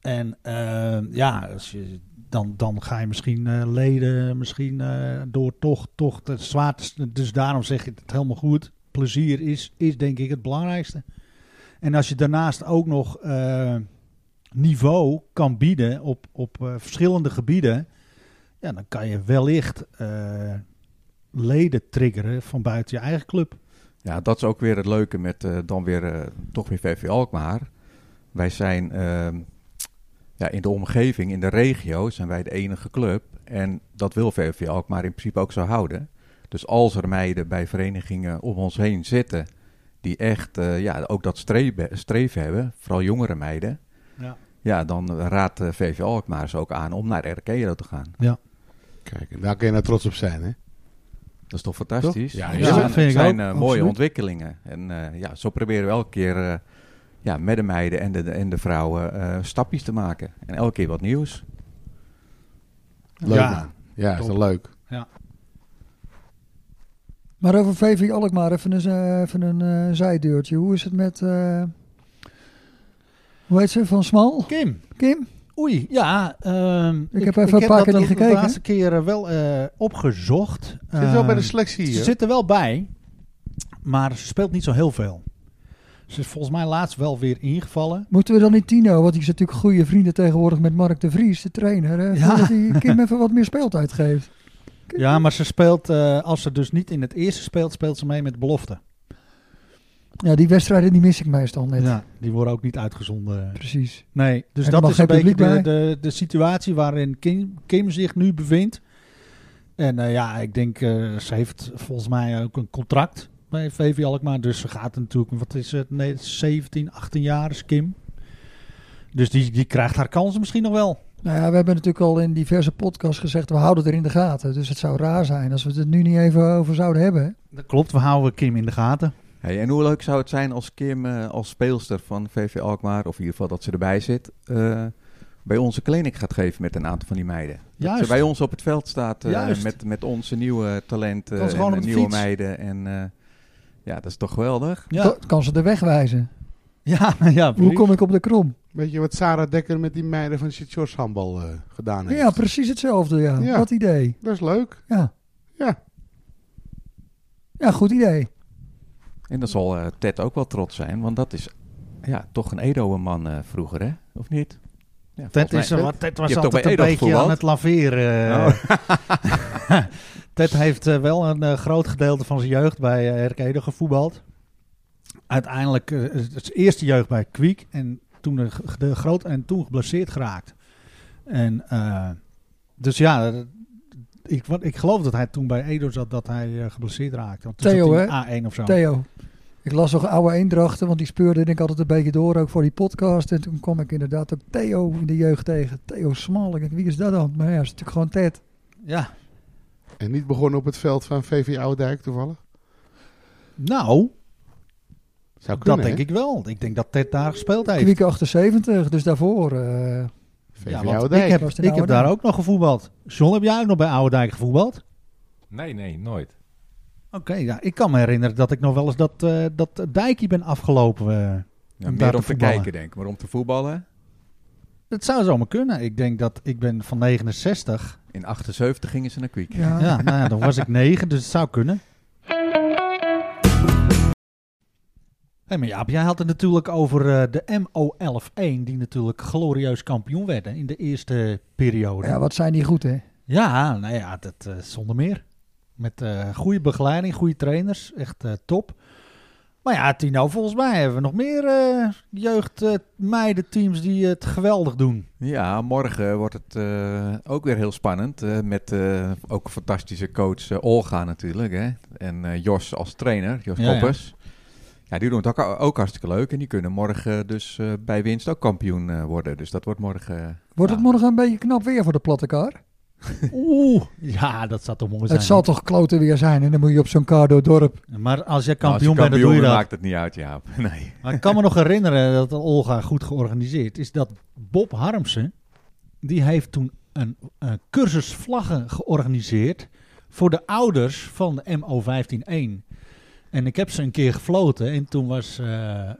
En eh, ja, als je, dan, dan ga je misschien eh, leden, misschien eh, door toch, toch te zwaar. te s- Dus daarom zeg je het helemaal goed. Plezier is, is denk ik het belangrijkste. En als je daarnaast ook nog eh, niveau kan bieden op, op eh, verschillende gebieden, ja, dan kan je wellicht eh, leden triggeren van buiten je eigen club. Ja, dat is ook weer het leuke met eh, dan weer eh, toch weer VV Alkmaar. Wij zijn ehm, ja, in de omgeving, in de regio, zijn wij de enige club. En dat wil VV Alkmaar in principe ook zo houden. Dus als er meiden bij verenigingen om ons heen zitten die echt eh, ja, ook dat streven, streven hebben, vooral jongere meiden. Ja. Ja, dan raadt eh, VV Alkmaar ze ook aan om naar RKO te gaan. Kijk, en daar kun je nou trots op zijn, hè? Dat is toch fantastisch? Toch? Ja, Dat ja, zijn- dat vind ik zijn ook, eh, mooie absoluut. ontwikkelingen. En eh, ja, zo proberen we elke keer eh, ja, met de meiden en de, en de vrouwen eh, stapjes te maken. En elke keer wat nieuws. Leuk, Ja. man. Ja, is Top. dat leuk. Maar over VV Alkmaar, even een, eh, even een eh, zijdeurtje. Hoe is het met... eh, hoe heet ze? Van Smal? Kim, Kim? Oei, ja. ehm, Ik heb even een paar dat keer de niet gekeken. laatste keer eh, wel eh, opgezocht. Zit wel bij de Ehm, selectie Ze hier. zit er wel bij, maar ze speelt niet zo heel veel. Ze is volgens mij laatst wel weer ingevallen. Moeten we dan niet Tino, want die is natuurlijk goede vrienden tegenwoordig met Mark de Vries, de trainer. Hè? Ja. Dat hij Kim (laughs) even wat meer speeltijd geeft. Ja, maar ze speelt, eh, als ze dus niet in het eerste speelt, speelt ze mee met belofte. Ja, die wedstrijden die mis ik meestal net. Ja, die worden ook niet uitgezonden. Precies. Nee, dus En er dat mag is een geen beetje publiek de, bij? de, de situatie waarin Kim, Kim zich nu bevindt. En eh, ja, ik denk, eh, ze heeft volgens mij ook een contract bij VV Alkmaar. Dus ze gaat natuurlijk, wat is het, nee, 17, 18 jaar is Kim. Dus die, die krijgt haar kansen misschien nog wel. Nou ja, we hebben natuurlijk al in diverse podcasts gezegd, we houden het er in de gaten. Dus het zou raar zijn als we het er nu niet even over zouden hebben. Dat klopt, we houden Kim in de gaten. Hey, en hoe leuk zou het zijn als Kim eh, als speelster van VV Alkmaar, of in ieder geval dat ze erbij zit, eh, bij onze kliniek gaat geven met een aantal van die meiden. Dat Juist. ze bij ons op het veld staat eh, Juist. met, met onze nieuwe talenten Kan ze gewoon en op de nieuwe fiets. meiden. En eh, ja, dat is toch geweldig? Ja, Dat kan ze de weg wijzen. ja, (laughs) ja Hoe precies. kom ik op de krom? Weet je wat Sarah Dekker met die meiden van Sint George handbal eh, gedaan heeft? Ja, precies hetzelfde. Ja. Ja. Dat idee. Dat is leuk. Ja. Ja. Ja, goed idee. En dan zal eh, Ted ook wel trots zijn, want dat is ja, toch een Edo-man eh, vroeger, hè? Of niet? Ja, Ted, volgens mij- is, er wat- Ted was Je hebt toch altijd bij een beetje Edo gevoetbald? Oh. aan het laveren. eh. (laughs) Ted heeft eh, wel een eh, groot gedeelte van zijn jeugd bij eh RK Edo gevoetbald. Uiteindelijk eh, zijn eerste jeugd bij Kwiek en toen een g- de groot en toen geblesseerd geraakt. En eh, dus ja, eh, ik, wat, ik geloof dat hij toen bij Edo zat dat hij eh, geblesseerd raakte. Want toen Theo, zat hij in A1 of zo. Theo. Ik las nog oude eendrachten, want die speurde ik altijd een beetje door ook voor die podcast. En toen kwam ik inderdaad ook Theo in de jeugd tegen. Theo Smal. Ik denk, wie is dat dan? Maar ja, het is natuurlijk gewoon Ted. Ja. En niet begonnen op het veld van VV Oudijk toevallig. Nou, dat Zou kunnen, denk ik wel. Ik denk dat Ted daar gespeeld heeft. Kwiek 78, dus daarvoor. eh, VV Ja, want ik Oudijk. heb, Was het ik in heb Ouwendijk? daar ook nog gevoetbald. John, heb jij ook nog bij Ouwendijk gevoetbald? Oké, Nee, nee, nooit. ja, ik kan me herinneren dat ik nog wel eens dat, eh dat dijkje ben afgelopen. eh. Ja, Om meer daar te om te, voetballen. kijken, denk ik. Maar om te voetballen. Het zou zomaar kunnen. Ik denk dat ik ben van 69. In 78 gingen ze naar Quick. Ja. Ja, nou ja, dan was ik 9, dus het zou kunnen. Hey, maar Jaap, jij had het natuurlijk over eh, de MO11-1, die natuurlijk glorieus kampioen werden in de eerste periode. Ja, wat zijn die goed, hè? Ja, nou ja, dat eh, zonder meer. Met eh, goede begeleiding, goede trainers, echt eh, top. Maar ja, Tino, volgens mij hebben we nog meer eh jeugd eh, meidenteams die het geweldig doen. Ja, morgen wordt het eh, ook weer heel spannend. eh, met eh, ook een fantastische coach eh, Olga natuurlijk. Hè? En eh, Jos als trainer, Jos Ja, ja. Koppers. Ja. die doen het ook, ook hartstikke leuk. En die kunnen morgen dus eh, bij winst ook kampioen eh, worden. Dus dat wordt morgen... eh, Wordt ja. het morgen een beetje knap weer voor de platte kar? Oeh, ja, dat zou toch mooi zijn. Het zal hè? toch kloten weer zijn en dan moet je op zo'n kar door het dorp. Maar als je Nou, als je kampioen, bent, dan doe je dat. maakt het niet uit, ja. (laughs) Nee. Maar ik kan me nog herinneren dat Olga goed georganiseerd is. Dat Bob Harmsen, die heeft toen een, een cursus vlaggen georganiseerd voor de ouders van de MO151. En ik heb ze een keer gefloten en toen was eh, eh,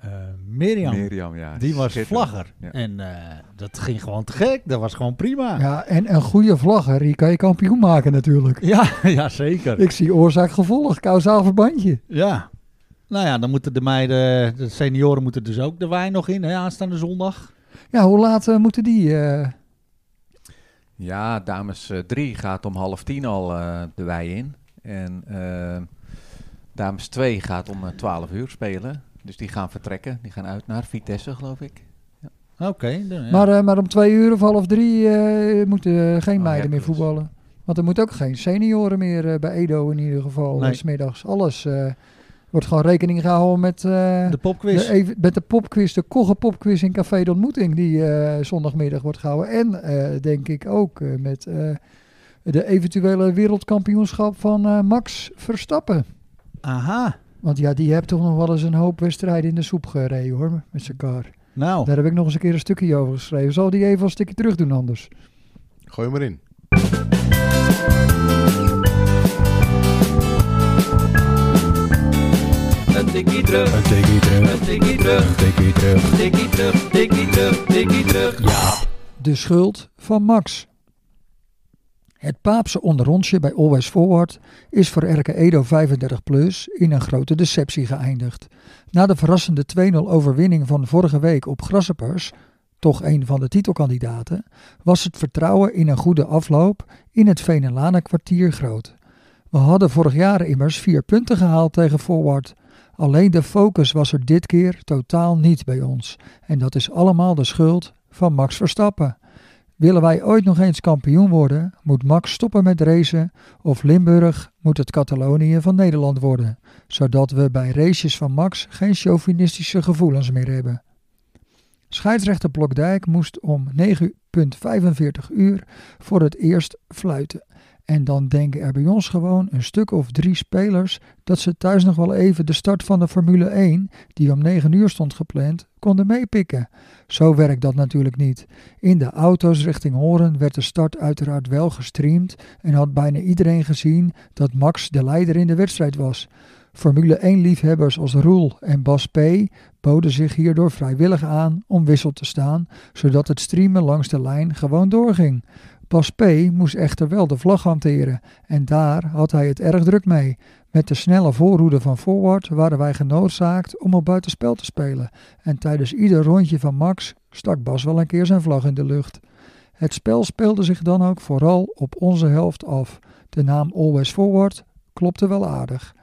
Mirjam, Mirjam, ja. die was schitterend. vlagger. Ja. En eh, dat ging gewoon te gek, dat was gewoon prima. Ja, Ja, en een goede vlagger, die kan je kampioen maken natuurlijk. ja, (laughs) zeker. Ik zie oorzaak-gevolg, kausaal verbandje. Ja. Nou ja, dan moeten de meiden, de senioren moeten dus ook de wijn nog in, hè, aanstaande zondag. Ja, hoe laat eh, moeten die? eh, Ja, dames 3 gaat om half tien al eh, de wei in. En eh, dames 2 gaat om eh, 12 uur spelen. Dus die gaan vertrekken. Die gaan uit naar Vitesse, geloof ik. Oké. dan- ja. maar, eh, maar om twee uur of half drie eh, moeten eh, geen Oh, meiden meer dus. Hercules. voetballen. Want er moet ook geen senioren meer eh, bij Edo in ieder geval, Nee. eh, 's middags. Alles eh, wordt gewoon rekening gehouden met... eh, de popquiz. De, even, met de popquiz, de Kogge popquiz in Café de Ontmoeting die eh, zondagmiddag wordt gehouden. En eh, denk ik ook eh, met eh, de eventuele wereldkampioenschap van eh, Max Verstappen. Aha. Want ja, die heeft toch nog wel eens een hoop wedstrijden in de soep gereden hoor, met zijn kar. Nou, Daar heb ik nog eens een keer een stukje over geschreven. Zal die even een stukje terug doen anders? Gooi maar in. Een tikkie terug. Een tikkie terug. Een tikkie terug. De schuld van Max. Het Paapse onderrondje bij Always Forward is voor Erke Edo 35 plus in een grote deceptie geëindigd. Na de verrassende 2-0 overwinning van vorige week op Grasshoppers, toch een van de titelkandidaten, was het vertrouwen in een goede afloop in het Venelana kwartier groot. We hadden vorig jaar immers vier punten gehaald tegen Forward. Alleen de focus was er dit keer totaal niet bij ons. En dat is allemaal de schuld van Max Verstappen. Willen wij ooit nog eens kampioen worden, moet Max stoppen met racen of Limburg moet het Catalonië van Nederland worden, zodat we bij races van Max geen chauvinistische gevoelens meer hebben. Scheidsrechter Blokdijk moest om 9.45 uur voor het eerst fluiten. En dan denken er bij ons gewoon een stuk of drie spelers dat ze thuis nog wel even de start van de Formule 1, die om 9 uur stond gepland, konden meepikken. Zo werkt dat natuurlijk niet. In de auto's richting Horen werd de start uiteraard wel gestreamd en had bijna iedereen gezien dat Max de leider in de wedstrijd was. Formule 1-liefhebbers als Roel en Bas P. boden zich hierdoor vrijwillig aan om wissel te staan, zodat het streamen langs de lijn gewoon doorging. Bas P. moest echter wel de vlag hanteren en daar had hij het erg druk mee. Met de snelle voorroede van Forward waren wij genoodzaakt om op buitenspel te spelen en tijdens ieder rondje van Max stak Bas wel een keer zijn vlag in de lucht. Het spel speelde zich dan ook vooral op onze helft af. De naam Always Forward klopte wel aardig.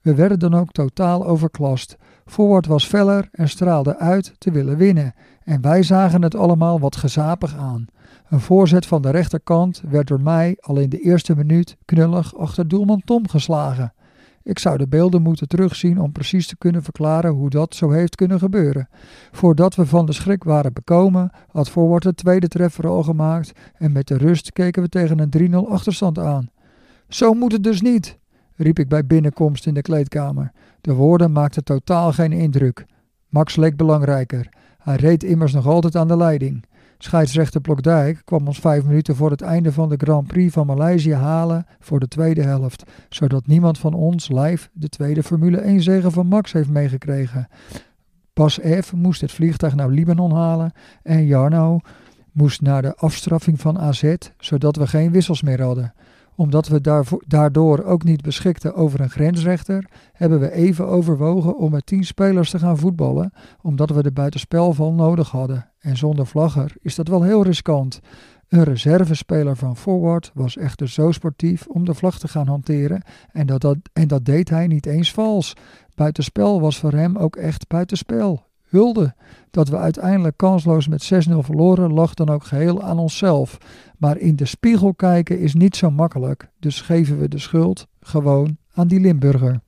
We werden dan ook totaal overklast. Forward was feller en straalde uit te willen winnen. En wij zagen het allemaal wat gezapig aan. Een voorzet van de rechterkant werd door mij al in de eerste minuut knullig achter doelman Tom geslagen. Ik zou de beelden moeten terugzien om precies te kunnen verklaren hoe dat zo heeft kunnen gebeuren. Voordat we van de schrik waren bekomen, had Forward de tweede treffer al gemaakt en met de rust keken we tegen een 3-0 achterstand aan. Zo moet het dus niet, riep ik bij binnenkomst in de kleedkamer. De woorden maakten totaal geen indruk. Max leek belangrijker. Hij reed immers nog altijd aan de leiding. Scheidsrechter Blokdijk kwam ons vijf minuten voor het einde van de Grand Prix van Maleisië halen voor de tweede helft, zodat niemand van ons live de tweede Formule 1 zegen van Max heeft meegekregen. Bas F. moest het vliegtuig naar Libanon halen en Jarno moest naar de afstraffing van AZ, zodat we geen wissels meer hadden. Omdat we daarvo- daardoor ook niet beschikten over een grensrechter, hebben we even overwogen om met tien spelers te gaan voetballen, omdat we de buitenspelval nodig hadden. En zonder vlagger is dat wel heel riskant. Een reservespeler van Forward was echter zo sportief om de vlag te gaan hanteren en dat, dat, en dat deed hij niet eens vals. Buitenspel was voor hem ook echt buitenspel. Hulde. Dat we uiteindelijk kansloos met 6-0 verloren lag dan ook geheel aan onszelf. Maar in de spiegel kijken is niet zo makkelijk, dus geven we de schuld gewoon aan die Limburger.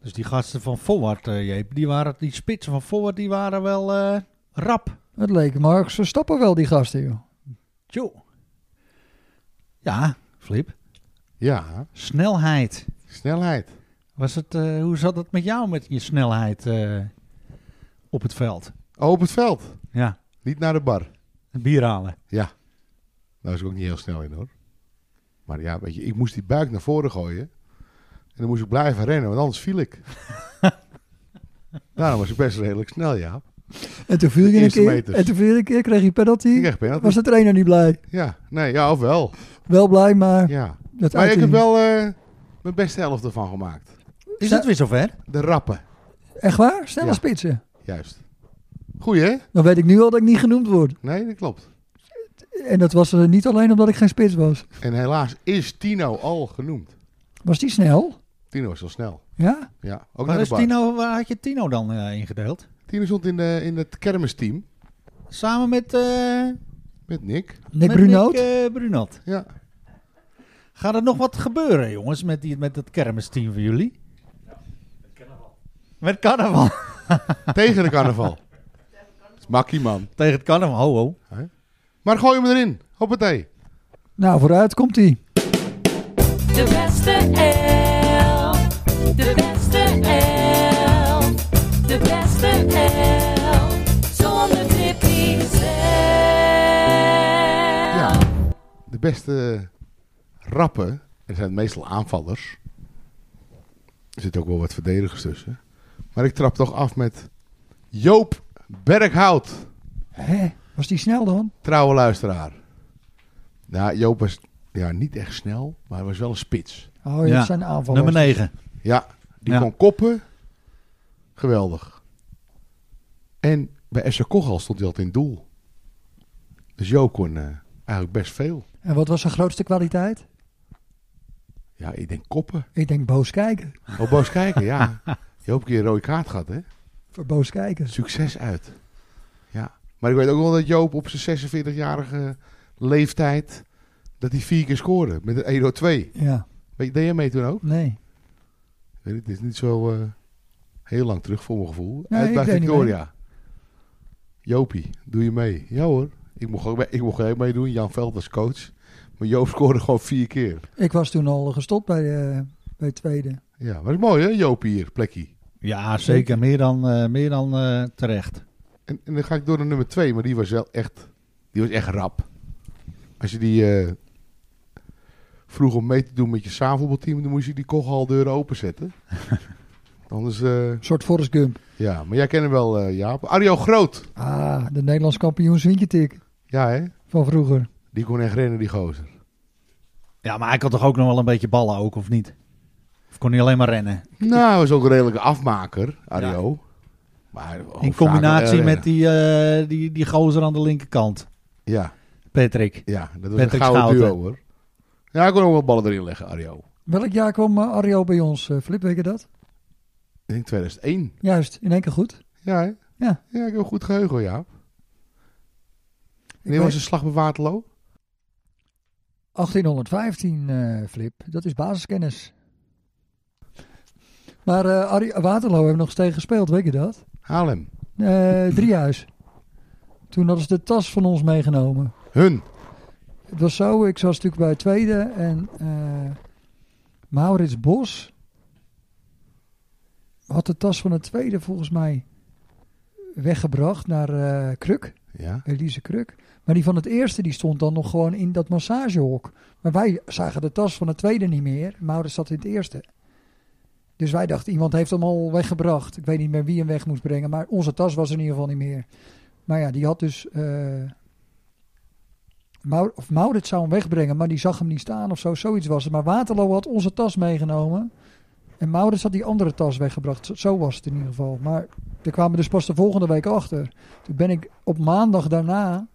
Dus die gasten van Forward, eh, Jeep, die, waren, die spitsen van Forward, die waren wel eh, rap. Het leek Marx Verstappen wel, die gasten, joh. Tjoe. Ja, Flip. Ja, Snelheid. snelheid. Was het, eh, hoe zat het met jou met je snelheid eh, op het veld? Oh, op het veld. Ja, Niet naar de bar. bier halen. Daar was ik ook niet heel snel in hoor. Maar ja, weet je, ik moest die buik naar voren gooien. En dan moest ik blijven rennen, want anders viel (laughs) ik. Daarom was ik best redelijk snel, ja. En toen viel je een Eerste keer, meters. en toen viel je een keer kreeg je Ik penalty. kreeg penalty. Was de trainer niet blij? Ja, nee, ja, of wel. Wel blij, maar... Ja. dat Maar ik uitte heb niet. wel eh, mijn beste helft ervan gemaakt. Is het weer zover? De rappen, Echt waar? Snelle Ja. spitsen. juist. Goeie, hè? Dan weet ik nu al dat ik niet genoemd word. Nee, dat klopt. En dat was er niet alleen omdat ik geen spits was. En helaas is Tino al genoemd. Was die snel? Tino is al snel. Ja? Ja, Waar, ook naar is de bar. Tino, waar had je Tino dan eh, ingedeeld? Tino stond in, de, in het kermisteam Samen met, eh met Nick. Nick met Brunoot? Nick, eh, Brunoot. Ja. Gaat er nog wat gebeuren, jongens, met, die, met dat kermisteam van jullie? Met carnaval. Tegen de carnaval. Dat is makkie, man. Tegen het carnaval, ho, ho. Maar gooi hem erin. Hoppatee. Nou, vooruit komt hij. De beste elf. De beste elf. De beste elf. Zonder Tippy zelf. Ja. De beste rappen, er zijn meestal aanvallers. Er zitten ook wel wat verdedigers tussen. Maar ik trap toch af met Joop Berghout, Hè? Was die snel dan? trouwe luisteraar. Nou, Joop was ja, niet echt snel, maar hij was wel een spits. Oh, ja, Ja. dat zijn aanvallen. Nummer 9. Ja, die Ja. kon koppen. Geweldig. En bij SC Kochal stond hij altijd in doel. Dus Joop kon eh, eigenlijk best veel. En wat was zijn grootste kwaliteit? Ja, ik denk koppen. Ik denk boos kijken. Oh, boos kijken, ja. Joop een keer een rode kaart gehad, hè? Voor boos kijken. Succes uit. Ja. Maar ik weet ook wel dat Joop op zijn 46-jarige leeftijd... dat hij vier keer scoorde met een 1 2 Ja, Weet je, deed jij mee toen ook? nee. Ik weet het, het is niet zo eh, heel lang terug voor mijn gevoel. Nee, Uit ik bij deed niet Victoria. Jopie, doe je mee? Ja hoor. Ik mocht ook mee, ik mocht ook meedoen. Jan Veld als coach. Maar Joop scoorde gewoon vier keer. Ik was toen al gestopt bij, eh, bij tweede. Ja, maar dat is mooi hè, Jopie hier, plekkie. Ja, zeker. Meer dan, eh, meer dan eh, terecht. En, en dan ga ik door naar nummer twee. Maar die was wel echt, die was echt rap. Als je die eh, vroeg om mee te doen met je zaalvoetbalteam... dan moest je die kochaldeuren (laughs) openzetten. Anders, eh, Een soort Forrest Gump. ja. Maar jij kent hem wel, eh, Jaap. Arjo Groot. Ah, de Nederlands kampioen Zwintjetik Ja hè? van vroeger. Die kon echt rennen, die gozer. Ja, maar hij kan toch ook nog wel een beetje ballen ook, of niet? Of kon hij alleen maar rennen? Nou, hij was ook een redelijke afmaker, Ario. Maar oh, In ook vaak combinatie wel met rennen. die, eh, die, die gozer aan de linkerkant. Ja, Patrick. ja, dat was Patrick een gouden duo Schouten. hoor. Ja, hij kon ook wel ballen erin leggen, Ario. Welk jaar kwam eh, Arjo bij ons, eh, Flip, weet je dat? Ik denk 2001. Juist, in één keer goed. Ja, hè? Ja. Ja, ik heb een goed geheugen, hoor, ja. Ik Wanneer was de weet- slag bij Waterloo? 1815, eh, Flip. Dat is basiskennis. Maar eh, Arie- Waterloo hebben we nog eens tegen gespeeld, weet je dat? Haarlem. Eh Driehuis. Toen hadden ze de tas van ons meegenomen. Hun. Het was zo, ik was natuurlijk bij het tweede en eh, Maurits Bos had de tas van het tweede volgens mij weggebracht naar eh, Kruk, Ja. Elise Kruk. Maar die van het eerste die stond dan nog gewoon in dat massagehok. Maar wij zagen de tas van het tweede niet meer. Maurits zat in het eerste. Dus wij dachten, iemand heeft hem al weggebracht. Ik weet niet meer wie hem weg moest brengen, maar onze tas was er in ieder geval niet meer. Maar ja, die had dus... eh Maur- of Maurits zou hem wegbrengen, maar die zag hem niet staan of zo. Zoiets was het. Maar Waterloo had onze tas meegenomen. En Maurits had die andere tas weggebracht. Zo- Zo was het in ieder geval. Maar daar kwamen we dus pas de volgende week achter. Toen ben ik op maandag daarna Een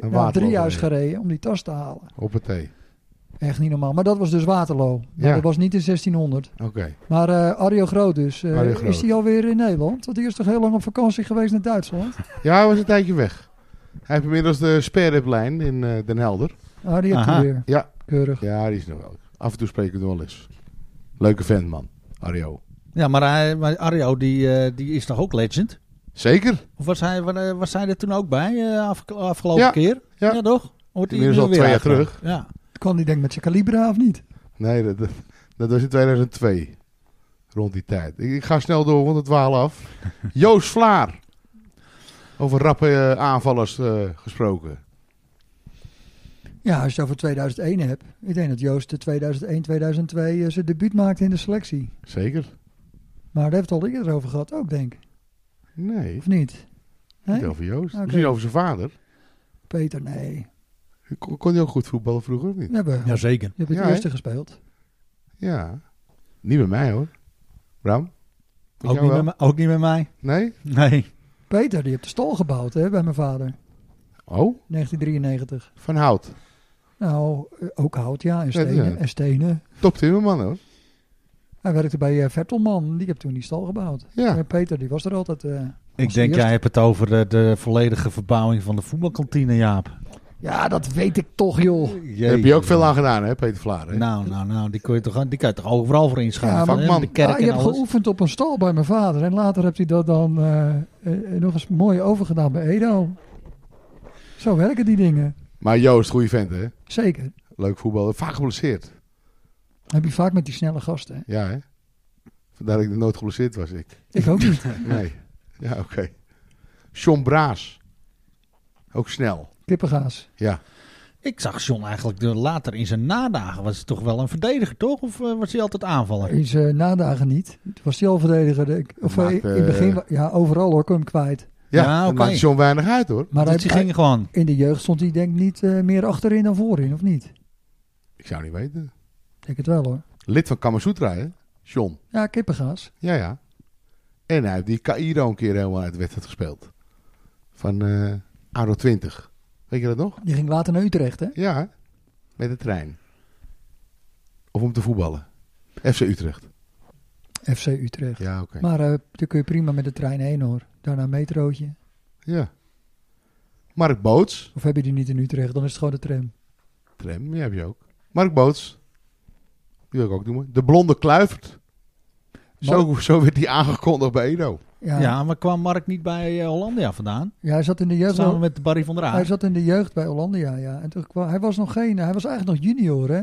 naar Waterloo drie huis gereden. gereden om die tas te halen. Hoppatee. Echt niet normaal. Maar dat was dus Waterloo. Maar Ja. Dat was niet in 1600. Oké. Maar eh Arjo Groot dus. eh, Arjo Groot. Is die alweer in Nederland? Want die is toch heel lang op vakantie geweest naar Duitsland? Ja, hij was een tijdje weg. Hij heeft inmiddels de sperriplijn in eh, Den Helder. Ah, die heeft Aha. hij weer. Ja. Keurig. Ja, die is nog wel. Af en toe spreken we hem wel eens. Leuke vent, man. Ario. Ja, maar, hij, maar Arjo, die, eh, die is toch ook legend? Zeker. Of was hij, wa- was hij er toen ook bij, eh, afge- afgelopen Ja, keer? ja. toch? Wordt hij Inmiddels nu al weer twee jaar uitgenodigd? Ja. Kwam die denk ik met zijn Calibra of niet? Nee, dat, dat, dat was in 2002. Rond die tijd. Ik, ik ga snel door, want het dwalen af. Joost Vlaar. Over rappe eh, aanvallers eh, gesproken. Ja, als je het over 2001 hebt. Ik denk dat Joost de 2001, 2002 eh, zijn debuut maakte in de selectie. Zeker? Maar daar heeft het al eerder over gehad ook, denk ik. Nee. Of niet? Niet Nee? over Joost. Oké. Misschien over zijn vader. Peter, nee. Kon, kon hij ook goed voetballen vroeger, of niet? We hebben, je Jazeker. hebt het Ja, hè? eerste gespeeld. Ja. Niet bij mij hoor. Bram? Met Ook jou niet, wel? met, mij- ook niet met mij. Nee? Nee. Peter, die heeft de stal gebouwd hè, bij mijn vader. Oh, 1993. Van Hout. Nou, eh, ook hout, ja. En stenen. ja. En stenen. Top Timmerman hoor. Hij werkte bij eh, Vertelman. Die heeft toen die stal gebouwd. Ja. En Peter, die was er altijd. eh, Ik Als denk, eerste. jij hebt het over de, de volledige verbouwing van de voetbalkantine, Jaap. ja, dat weet ik toch, joh. Daar heb je ook veel aan gedaan hè, Peter Vlaar. hè? Nou, nou, nou, die kun je toch, die kun je toch overal voor Ja, inschrijven. Ja, vakman. de kerk Ja, Ah, je en hebt alles. geoefend op een stal bij mijn vader. En later heb hij dat dan eh, eh, nog eens mooi overgedaan bij Edo. Zo werken die dingen. Maar Joost, goede vent hè. Zeker. Leuk voetballer. Vaak geblesseerd. Heb je vaak met die snelle gasten. hè? Ja hè. Vandaar dat ik nooit geblesseerd was ik. Ik ook niet. Nee. Ja, oké. John Braas. Ook snel. Kippengaas. Ja. Ik zag John eigenlijk de- later in zijn nadagen. Was hij toch wel een verdediger, toch? Of eh, was hij altijd aanvaller? In zijn eh, nadagen niet. Toen was hij al verdediger. denk ik. Of eh, Maakt, in het begin, eh, wa- ja, overal hoor, kon hem kwijt. Ja, Ja, dat oké. maakt John weinig uit hoor. Maar hij, Dus die ging gewoon. hij- in de jeugd stond hij denk ik niet eh, meer achterin dan voorin, of niet? Ik zou niet weten. Ik denk het wel hoor. Lid van Kamasutra hè. John. Ja, Kippengaas. Ja, ja. En hij heeft die Cairo een keer helemaal uit de wedstrijd gespeeld. Van eh Aro 20. Weet je dat nog? Die ging later naar Utrecht, hè? Ja, hè? met de trein. Of om te voetballen. FC Utrecht. FC Utrecht. Ja, oké. Maar eh daar kun je prima met de trein heen hoor. Daarna een metrootje. Ja. Mark Boots. Of heb je die niet in Utrecht, dan is het gewoon de tram. Tram, die heb je ook. Mark Boots. Die wil ik ook noemen. De Blonde Kluivert. Zo, zo werd die aangekondigd bij Edo. Ja, Ja. ja. maar kwam Mark niet bij eh, Hollandia vandaan? hij, zat in de jeugd Samen wel, met Barry van der hij Aar. zat in de jeugd bij Hollandia, ja. En toen kwam, hij was nog geen, hij was eigenlijk nog junior, hè.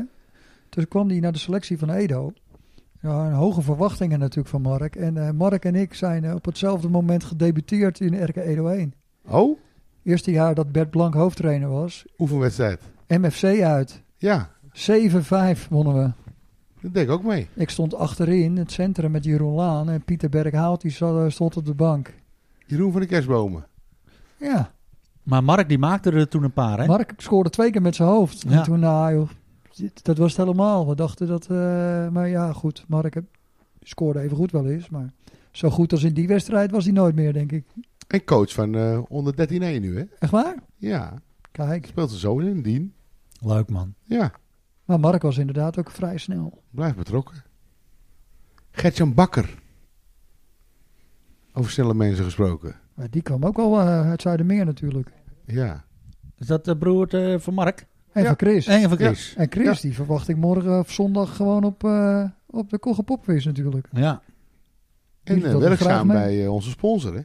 Toen kwam hij naar de selectie van Edo. Ja, en hoge verwachtingen natuurlijk van Mark. En eh, Mark en ik zijn eh, op hetzelfde moment gedebuteerd in RK Edo 1. Oh, Eerste jaar dat Bert Blank hoofdtrainer was. oefenwedstrijd. MFC uit. 7-5 Ja, wonnen we. dat denk ik ook mee. Ik stond achterin, het centrum met Jeroen Laan. En Pieter Berghout, die zat- eh, stond op de bank. Jeroen van de Kerstbomen. Ja, Maar Mark die maakte er toen een paar, hè? Mark scoorde twee keer met zijn hoofd. Ja. En toen, nou joh, dit- dat was het helemaal. We dachten dat, eh, maar ja goed, Mark heb- scoorde even goed wel eens. Maar zo goed als in die wedstrijd was hij nooit meer, denk ik. En coach van eh onder 13-1 nu, hè? Echt waar? Ja, Kijk, speelt zijn zoon in, Dien. Leuk, man. Ja, maar Mark was inderdaad ook vrij snel. blijft betrokken. Gertjan Bakker. Over snelle mensen gesproken. Maar die kwam ook al eh, uit Zuidermeer natuurlijk. Ja. Is dat de broer eh, van Mark? En Ja. van Chris. En van Chris. En Chris, die verwacht ik morgen of zondag gewoon op, eh, op de Kogge Popquiz natuurlijk. Ja. En Jullie eh, dat nog graag werkzaam mee? bij eh, onze sponsor, hè?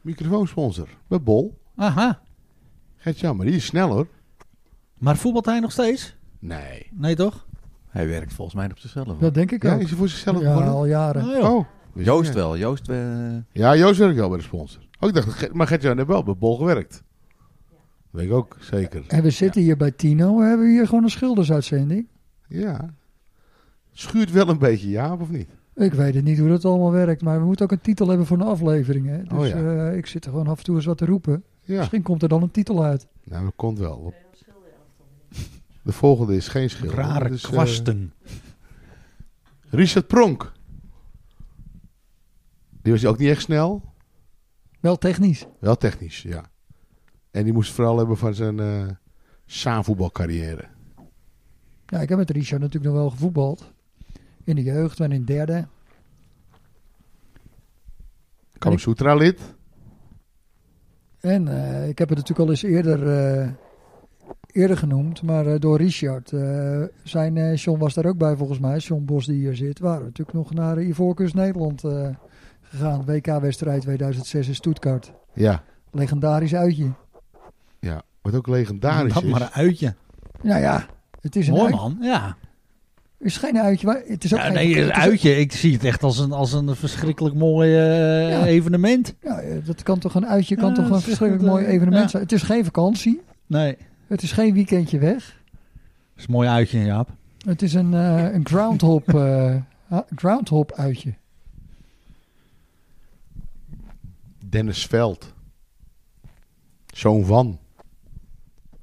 Microfoonsponsor. Bij Bol. Aha. Gertjan, maar die is snel hoor. Maar voetbalt hij nog steeds? Nee. Nee, toch? Hij werkt volgens mij op zichzelf. Dat denk ik Ja, ook. is hij voor zichzelf Ja, begonnen? al jaren. Nou, joh. Oh. wist Joost ik wel. Joost, eh, niet. Ja, Joost werkt wel bij de sponsor. Oh, ik dacht, Ge- maar Gert-Jan heeft wel bij Bol gewerkt. Weet ik ook, zeker. En we zitten hier bij Tino. Hebben we hier gewoon een schildersuitzending? Ja. Schuurt wel een beetje, ja of niet? Ik weet het niet hoe dat allemaal werkt, maar we moeten ook een titel hebben voor een aflevering. Hè? Dus Oh ja. eh, ik zit er gewoon af en toe eens wat te roepen. Ja. Misschien komt er dan een titel uit. Nou, dat komt wel. (laughs) De volgende is geen schilder. Rare dus, eh, kwasten. Richard Pronk. Die was ook niet echt snel. Wel technisch. Wel technisch, ja. En die moest het vooral hebben van zijn eh zaanvoetbalcarrière. Ja, ik heb met Richard natuurlijk nog wel gevoetbald. In de jeugd en in derde. Kama Sutra lid. En eh, ik heb het natuurlijk al eens eerder, eh, eerder genoemd, maar eh, door Richard. eh, zijn eh John was daar ook bij volgens mij, John Bos die hier zit. Waren we natuurlijk nog naar Ivoorkust Nederland eh, gegaan. WK-wedstrijd 2006 in Stuttgart. Ja. Legendarisch uitje. ja. Wat ook legendarisch Dat is. maar een uitje. Nou ja, het is een Mooi uit- man, ja. Het is geen uitje, maar het is ook ja geen... nee, een het is- uitje. Ik zie het echt als een, als een verschrikkelijk mooi eh, Ja. evenement. Ja, eh, dat kan toch een uitje, kan Ja, toch dat een is verschrikkelijk echt, mooi eh, evenement ja. zijn. Het is geen vakantie, Nee, het is geen weekendje weg. is een mooi uitje, Jaap. Het is een, eh, een groundhop, eh, (laughs) ah, groundhop uitje. Dennis Veld. Zoon van.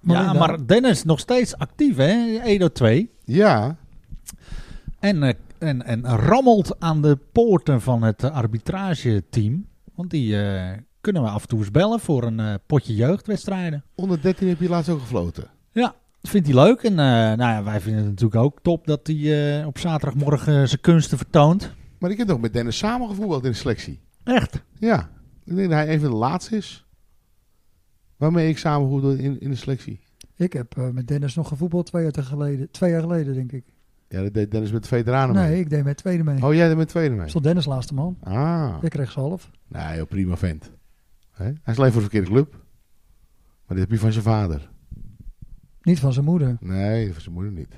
ja, Marina. maar Dennis nog steeds actief, hè? Edo 2. Ja. En, eh, en, en rammelt aan de poorten van het eh, arbitrageteam. Want die eh, kunnen we af en toe eens bellen voor een eh, potje jeugdwedstrijden. Onder 13 heb je laatst ook gefloten. Dat vindt hij leuk. En eh, nou ja, wij vinden het natuurlijk ook top dat hij eh, op zaterdagmorgen eh, zijn kunsten vertoont. Maar ik heb nog met Dennis samen gevoetbald in de selectie. Echt. Ja. Ik denk dat hij een van de laatste is. Waarmee ik samen voetbal in, in de selectie. Ik heb eh, met Dennis nog gevoetbald twee jaar, te geleden, twee jaar geleden, denk ik. Ja, dat deed Dennis met de veteranen nee, mee. ik deed met tweede mee. Oh, jij deed met tweede mee. Stond Dennis laatste man. Ah. Ik kreeg ze half. Nee, joh, prima vent. Hè? Hij is alleen voor de verkeerde club. Maar dit heb je van zijn vader. Niet van zijn moeder. Nee, van zijn moeder niet.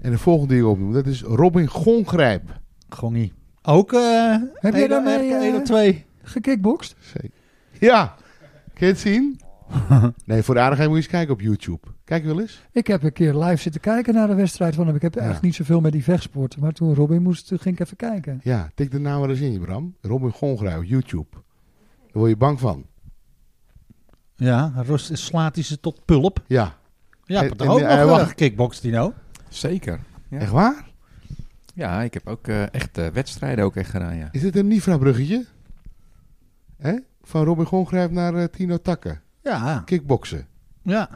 En de volgende die ik opnoem, dat is Robin Gongrijp. Gongie. Ook eh Heb jij Edo- daarmee, Edo- eh, Edo 2. Gekickboxd? Zeker. Ja, kun je het zien? (laughs) nee, voor de aardigheid moet je eens kijken op YouTube. Kijk wel eens. Ik heb een keer live zitten kijken naar de wedstrijd van hem. Ik heb Ja. eigenlijk niet zoveel met die vechtsport. Maar toen Robin moest, toen ging ik even kijken. Ja, tik de naam wel eens in, Bram. Robin Gongrijp, YouTube. Daar word je bang van. Ja, Rus slaat hij ze tot pulp. Ja, Ja, En- dat en- ook eh, nog wacht. uh, kickbox, Dino. Zeker. Ja. echt waar? Ja, ik heb ook eh, echt eh, wedstrijden ook echt gedaan, ja. Is dit een Nifra-bruggetje? Hè? Van Robin Gongrijp naar eh, Tino Takken. Ja, Kickboksen. ja.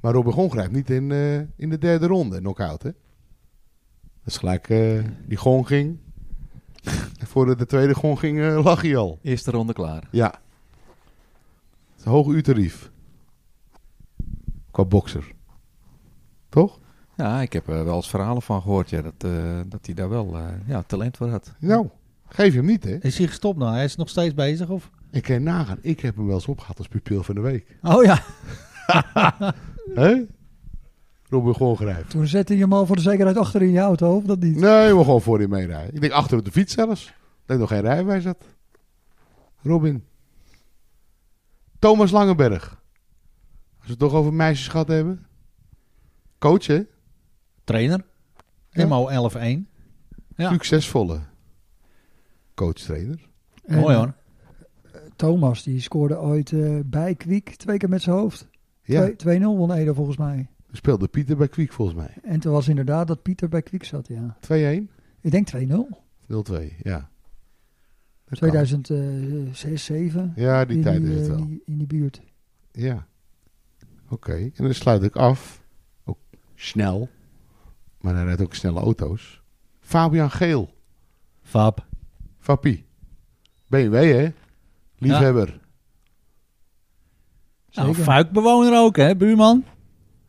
Maar Robin Gongrijp niet in, eh, in de derde ronde, knock-out, hè? Dat is gelijk, eh, die gong ging. En voordat de tweede gong ging, eh, lag hij al. Eerste ronde klaar. Ja. Het is een hoog uurtarief. Qua bokser. Toch? Ja, ik heb er wel eens verhalen van gehoord, ja, dat, eh, dat hij daar wel eh, ja, talent voor had. Nou, geef hem niet, hè? Is hij gestopt nou? Hij is nog steeds bezig of? Ik kan je nagaan, ik heb hem wel eens opgehad als pupil van de week. Oh ja. Hè? Robin Gongrijp. Toen zette je hem al voor de zekerheid achter in je auto, of dat niet? Nee, we gewoon voor hem meerijden. Ik denk achter op de fiets zelfs. Ik denk nog geen rijbewijs had. Robin. Thomas Langenberg. Als we het toch over meisjes gehad hebben. Coach, hè? Trainer. Ja. MO 11-1. Ja. Succesvolle coach-trainer. En, Mooi hoor. eh, Thomas, die scoorde ooit eh, bij Kwiek twee keer met zijn hoofd. Ja, Twee- 2-0 won Edo volgens mij. speelde Pieter bij Kwiek volgens mij. En toen was inderdaad dat Pieter bij Kwiek zat, ja. Ik denk 2-0. 2-1, 0-2, ja. Dat kan. 2006, 7 Ja, die in, tijd die, is het eh, wel. die- in die buurt. Ja. Oké, en dan sluit ik af. Ook snel. Maar hij rijdt ook snelle auto's. Fabian Geel. Fab. Fappie. BMW, hè? Liefhebber. Nou, Zeker. fuikbewoner ook hè, buurman.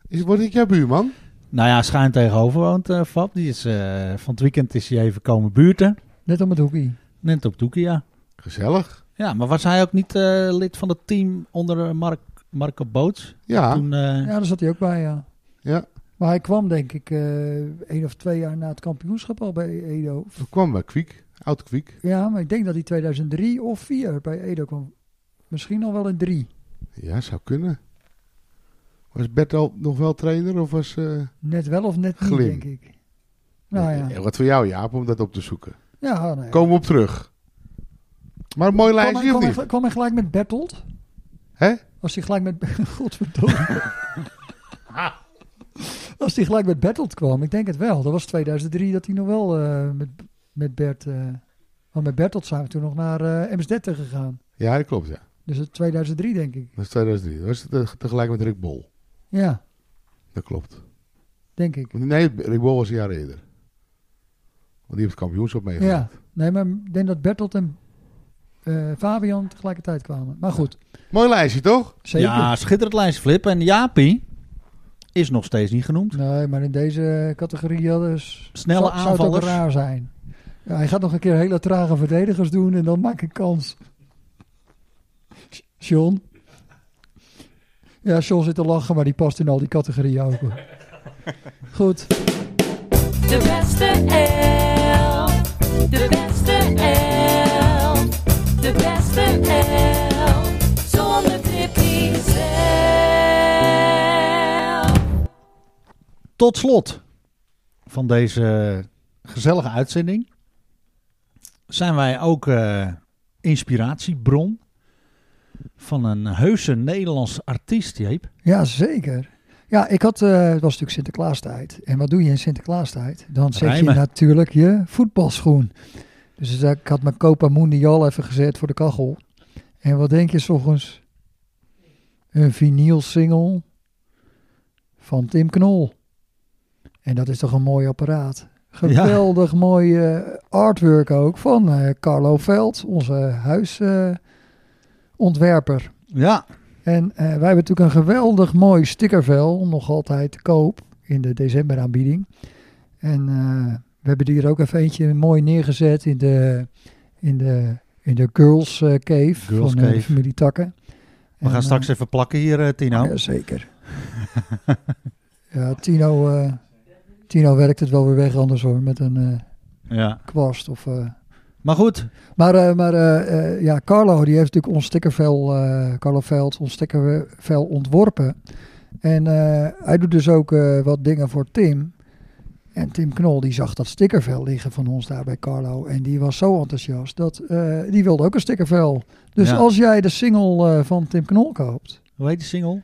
Is, word ik jouw buurman? Nou ja, schuin tegenover woont eh, Fab. Die is, eh, van het weekend is hij even komen buurten. Net om het hoekje. Net op Doekie, ja. Gezellig. Ja, maar was hij ook niet eh, lid van het team onder eh, Mark, Marco Boots? Ja. Toen, eh, Ja, daar zat hij ook bij, ja. Ja. Maar hij kwam denk ik eh één of twee jaar na het kampioenschap al bij Edo. Dat kwam bij Kwiek. Oud kwiek. Ja, maar ik denk dat hij 2003 of 4 bij Edo kwam. Misschien al wel in 3. Ja, zou kunnen. Was Bert al nog wel trainer of was... eh, Net wel of net niet, Glim. denk ik. Nou ja. eh, Wat voor jou, Jaap, om dat op te zoeken. ja nee. Komen we op terug. Maar een mooi Kwam hij- lijstje kwam of hij niet? gel- Kwam hij gelijk met Bertolt? Hè? Als hij gelijk met... (laughs) Godverdomme. Als hij gelijk met Bertolt kwam, ik denk het wel. Dat was 2003 dat hij nog wel eh, met, met Bert... eh, want met Bertolt zijn we toen nog naar eh, MS-13 gegaan. Ja, dat klopt, ja. Dus het 2003 denk ik. Dat is 2003. Dat was te- tegelijk met Rick Bol. Ja, Dat klopt. denk ik. Nee, Rick Bol was een jaar eerder. Want die heeft het kampioenschap Ja, meegemaakt. nee, maar ik denk dat Bertolt en eh, Fabian tegelijkertijd kwamen. Maar goed, Mooi lijstje, toch? zeker. Ja, schitterend lijstje, Flip. En Jaapie is nog steeds niet genoemd. Nee, maar in deze categorie hadden ze- Snelle zou, zou het ook aanvallers. raar zijn. Ja, hij gaat nog een keer hele trage verdedigers doen en dan maak ik kans. Sean. Ja, Sean zit te lachen, maar die past in al die categorieën ook. hoor. Goed, De beste elf. De beste elf. De beste elf. Zonder Tippy zelf. Tot slot van deze gezellige uitzending zijn wij ook eh, inspiratiebron van een heuse Nederlandse artiest, Jeep. ja zeker. Ja, ik had, eh, het was natuurlijk Sinterklaastijd. En wat doe je in Sinterklaastijd? Dan zet Rijmen. je natuurlijk je voetbalschoen. Dus eh, ik had mijn Copa Mundial even gezet voor de kachel. En wat denk je s'ochtends? Een vinyl single van Tim Knol. En dat is toch een mooi apparaat. Geweldig mooi eh, artwork ook van eh, Carlo Veld, onze huisontwerper. Ja, En eh, wij hebben natuurlijk een geweldig mooi stickervel, nog altijd te koop in de decemberaanbieding. En eh, we hebben hier ook even eentje mooi neergezet in de, in de, in de Girls eh, Cave Girls van eh, Cave. de familie Takken. we gaan straks even plakken hier, eh, Tino. Ja, zeker. (laughs) ja, Tino, eh, Tino werkt het wel weer weg anders hoor, met een eh, Ja. kwast of... eh, Maar goed, maar, eh, maar eh, eh, ja, Carlo die heeft natuurlijk ons stickervel, eh, Carlo Veld, ons stickervel ontworpen. En eh, hij doet dus ook eh, wat dingen voor Tim. En Tim Knol die zag dat stickervel liggen van ons daar bij Carlo. En die was zo enthousiast dat eh, die wilde ook een stickervel. Dus Ja. als jij de single eh, van Tim Knol koopt. hoe heet die single?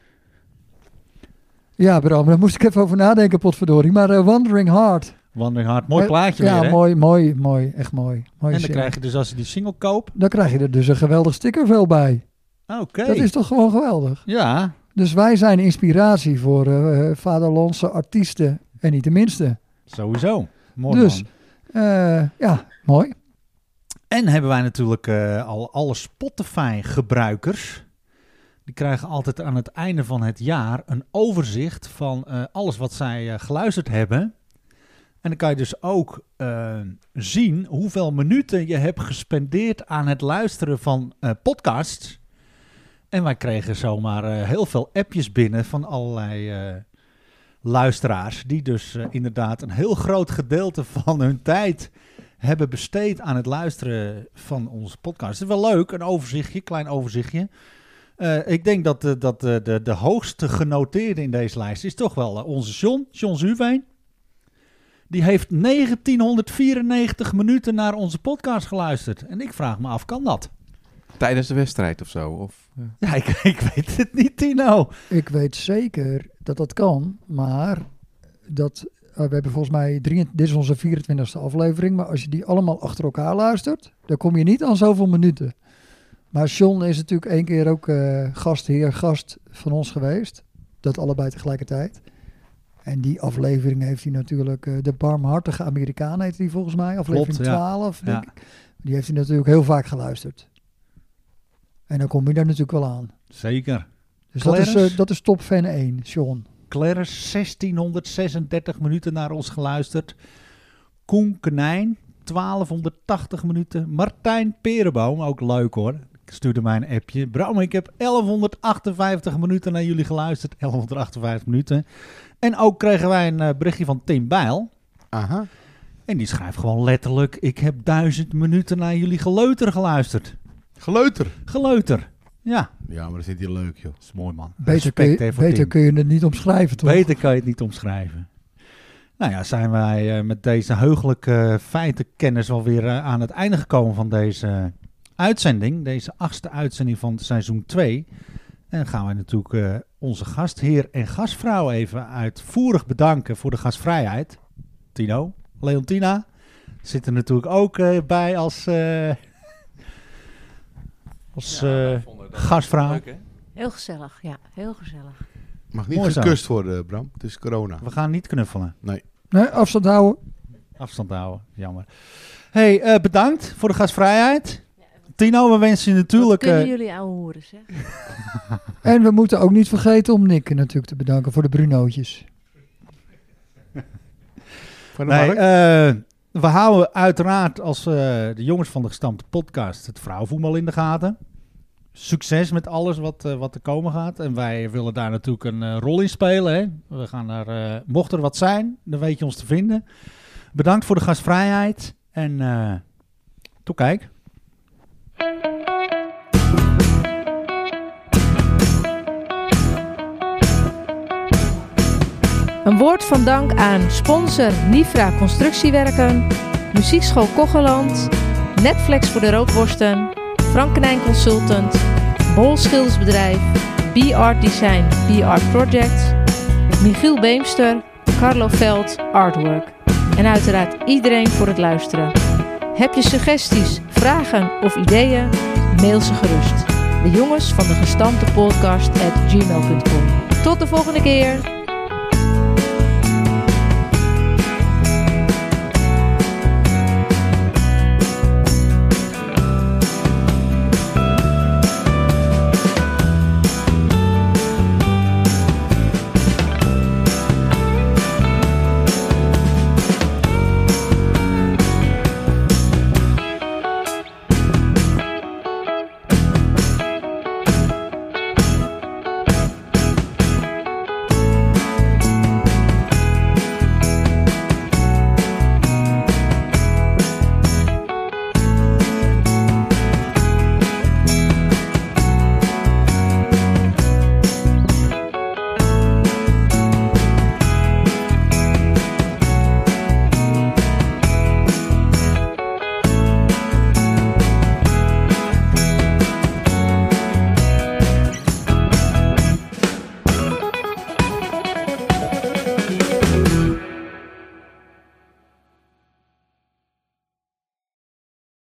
Ja, Bram, daar moest ik even over nadenken, potverdorie. Maar eh, Wandering Heart. Wandering Hard, mooi Eh, plaatje ja, weer, hè? mooi, mooi, mooi. Echt mooi. Mooie En dan single. krijg je dus als je die single koopt... dan krijg je er dus een geweldig stickervel bij. Oké, Dat is toch gewoon geweldig. ja, Dus wij zijn inspiratie voor eh vaderlandse artiesten. En niet de minste. sowieso. Mooi Dus- man. Eh, ja, mooi. En hebben wij natuurlijk eh, al alle Spotify-gebruikers. Die krijgen altijd aan het einde van het jaar een overzicht van eh, alles wat zij eh, geluisterd hebben. En dan kan je dus ook eh, zien hoeveel minuten je hebt gespendeerd aan het luisteren van eh, podcasts. En wij kregen zomaar eh, heel veel appjes binnen van allerlei eh, luisteraars. Die dus eh, inderdaad een heel groot gedeelte van hun tijd hebben besteed aan het luisteren van onze podcast. Het is wel leuk, een overzichtje, klein overzichtje. Eh, ik denk dat, eh, dat eh, de, de hoogste genoteerde in deze lijst is toch wel eh, onze John, John Zuurveen. Die heeft 1994 minuten naar onze podcast geluisterd. En ik vraag me af, kan dat? Tijdens de wedstrijd of zo? Of, eh, Ja, ik, (laughs) ik weet het niet, Tino. Ik weet zeker dat dat kan, maar dat, eh, we hebben volgens mij, drie, dit is onze 24e aflevering, maar als je die allemaal achter elkaar luistert, dan kom je niet aan zoveel minuten. Maar John is natuurlijk één keer ook eh, gastheer, gast van ons geweest. Dat allebei tegelijkertijd. En die aflevering heeft hij natuurlijk, eh, de barmhartige Amerikaan heet die volgens mij, aflevering Klopt, ja. 12 denk Ja. ik. Die heeft hij natuurlijk heel vaak geluisterd. En dan kom je daar natuurlijk wel aan. Zeker. Dus dat is, Clarence? eh, dat is top fan 1, Sean. Clarence, 1636 minuten naar ons geluisterd. Koen Knijn, 1280 minuten. Martijn Perenboom, ook leuk hoor. Ik stuurde mij een appje. Bram, ik heb 1158 minuten naar jullie geluisterd. 1158 minuten. En ook kregen wij een eh, berichtje van Tim Bijl. Aha. En die schrijft gewoon letterlijk: Ik heb duizend minuten naar jullie geleuter geluisterd. Geleuter. Geleuter. Ja, Ja, maar dat vindt hij leuk, joh. dat is mooi man. Beter, kun Respect, je, hè, voor beter Tim. kun je het niet omschrijven, toch? Beter kan je het niet omschrijven. Nou ja, zijn wij eh, met deze heugelijke feitenkennis alweer eh, aan het einde gekomen van deze uitzending. Deze achtste uitzending van seizoen 2. En gaan wij natuurlijk eh, onze gastheer en gastvrouw even uitvoerig bedanken voor de gastvrijheid. Tino, Leontina zit er natuurlijk ook eh, bij als, eh, als eh, gastvrouw. Heel gezellig, ja. Heel gezellig. Mag niet Mooi zo. gekust worden, Bram. Het is corona. We gaan niet knuffelen. Nee, afstand houden. Afstand houden, jammer. hey, eh, bedankt voor de gastvrijheid. Tino, we wensen je Wat natuurlijk... kunnen eh, jullie ouwe hoeren, zeg. En we moeten ook niet vergeten om Nick natuurlijk te bedanken voor de Brunootjes. Van de nee, markt? eh, we houden uiteraard als eh, de jongens van de gestampte podcast het vrouwenvoetbal in de gaten. Succes met alles wat, eh, wat er komen gaat. En wij willen daar natuurlijk een eh, rol in spelen. Hè? We gaan daar, eh, mocht er wat zijn, dan weet je ons te vinden. Bedankt voor de gastvrijheid. En eh tot kijk. Een woord van dank aan sponsor Nifra Constructiewerken, Muziekschool Kocheland, Netflix voor de rookworsten, Frankenijn Consultant, Bol Schildersbedrijf, B-Art Design, B-Art Project, Michiel Beemster, Carlo Veld, Artwork. En uiteraard iedereen voor het luisteren. Heb je suggesties, vragen of ideeën? Mail ze gerust. De jongens van de gestampte podcast at gmail.com. Tot de volgende keer!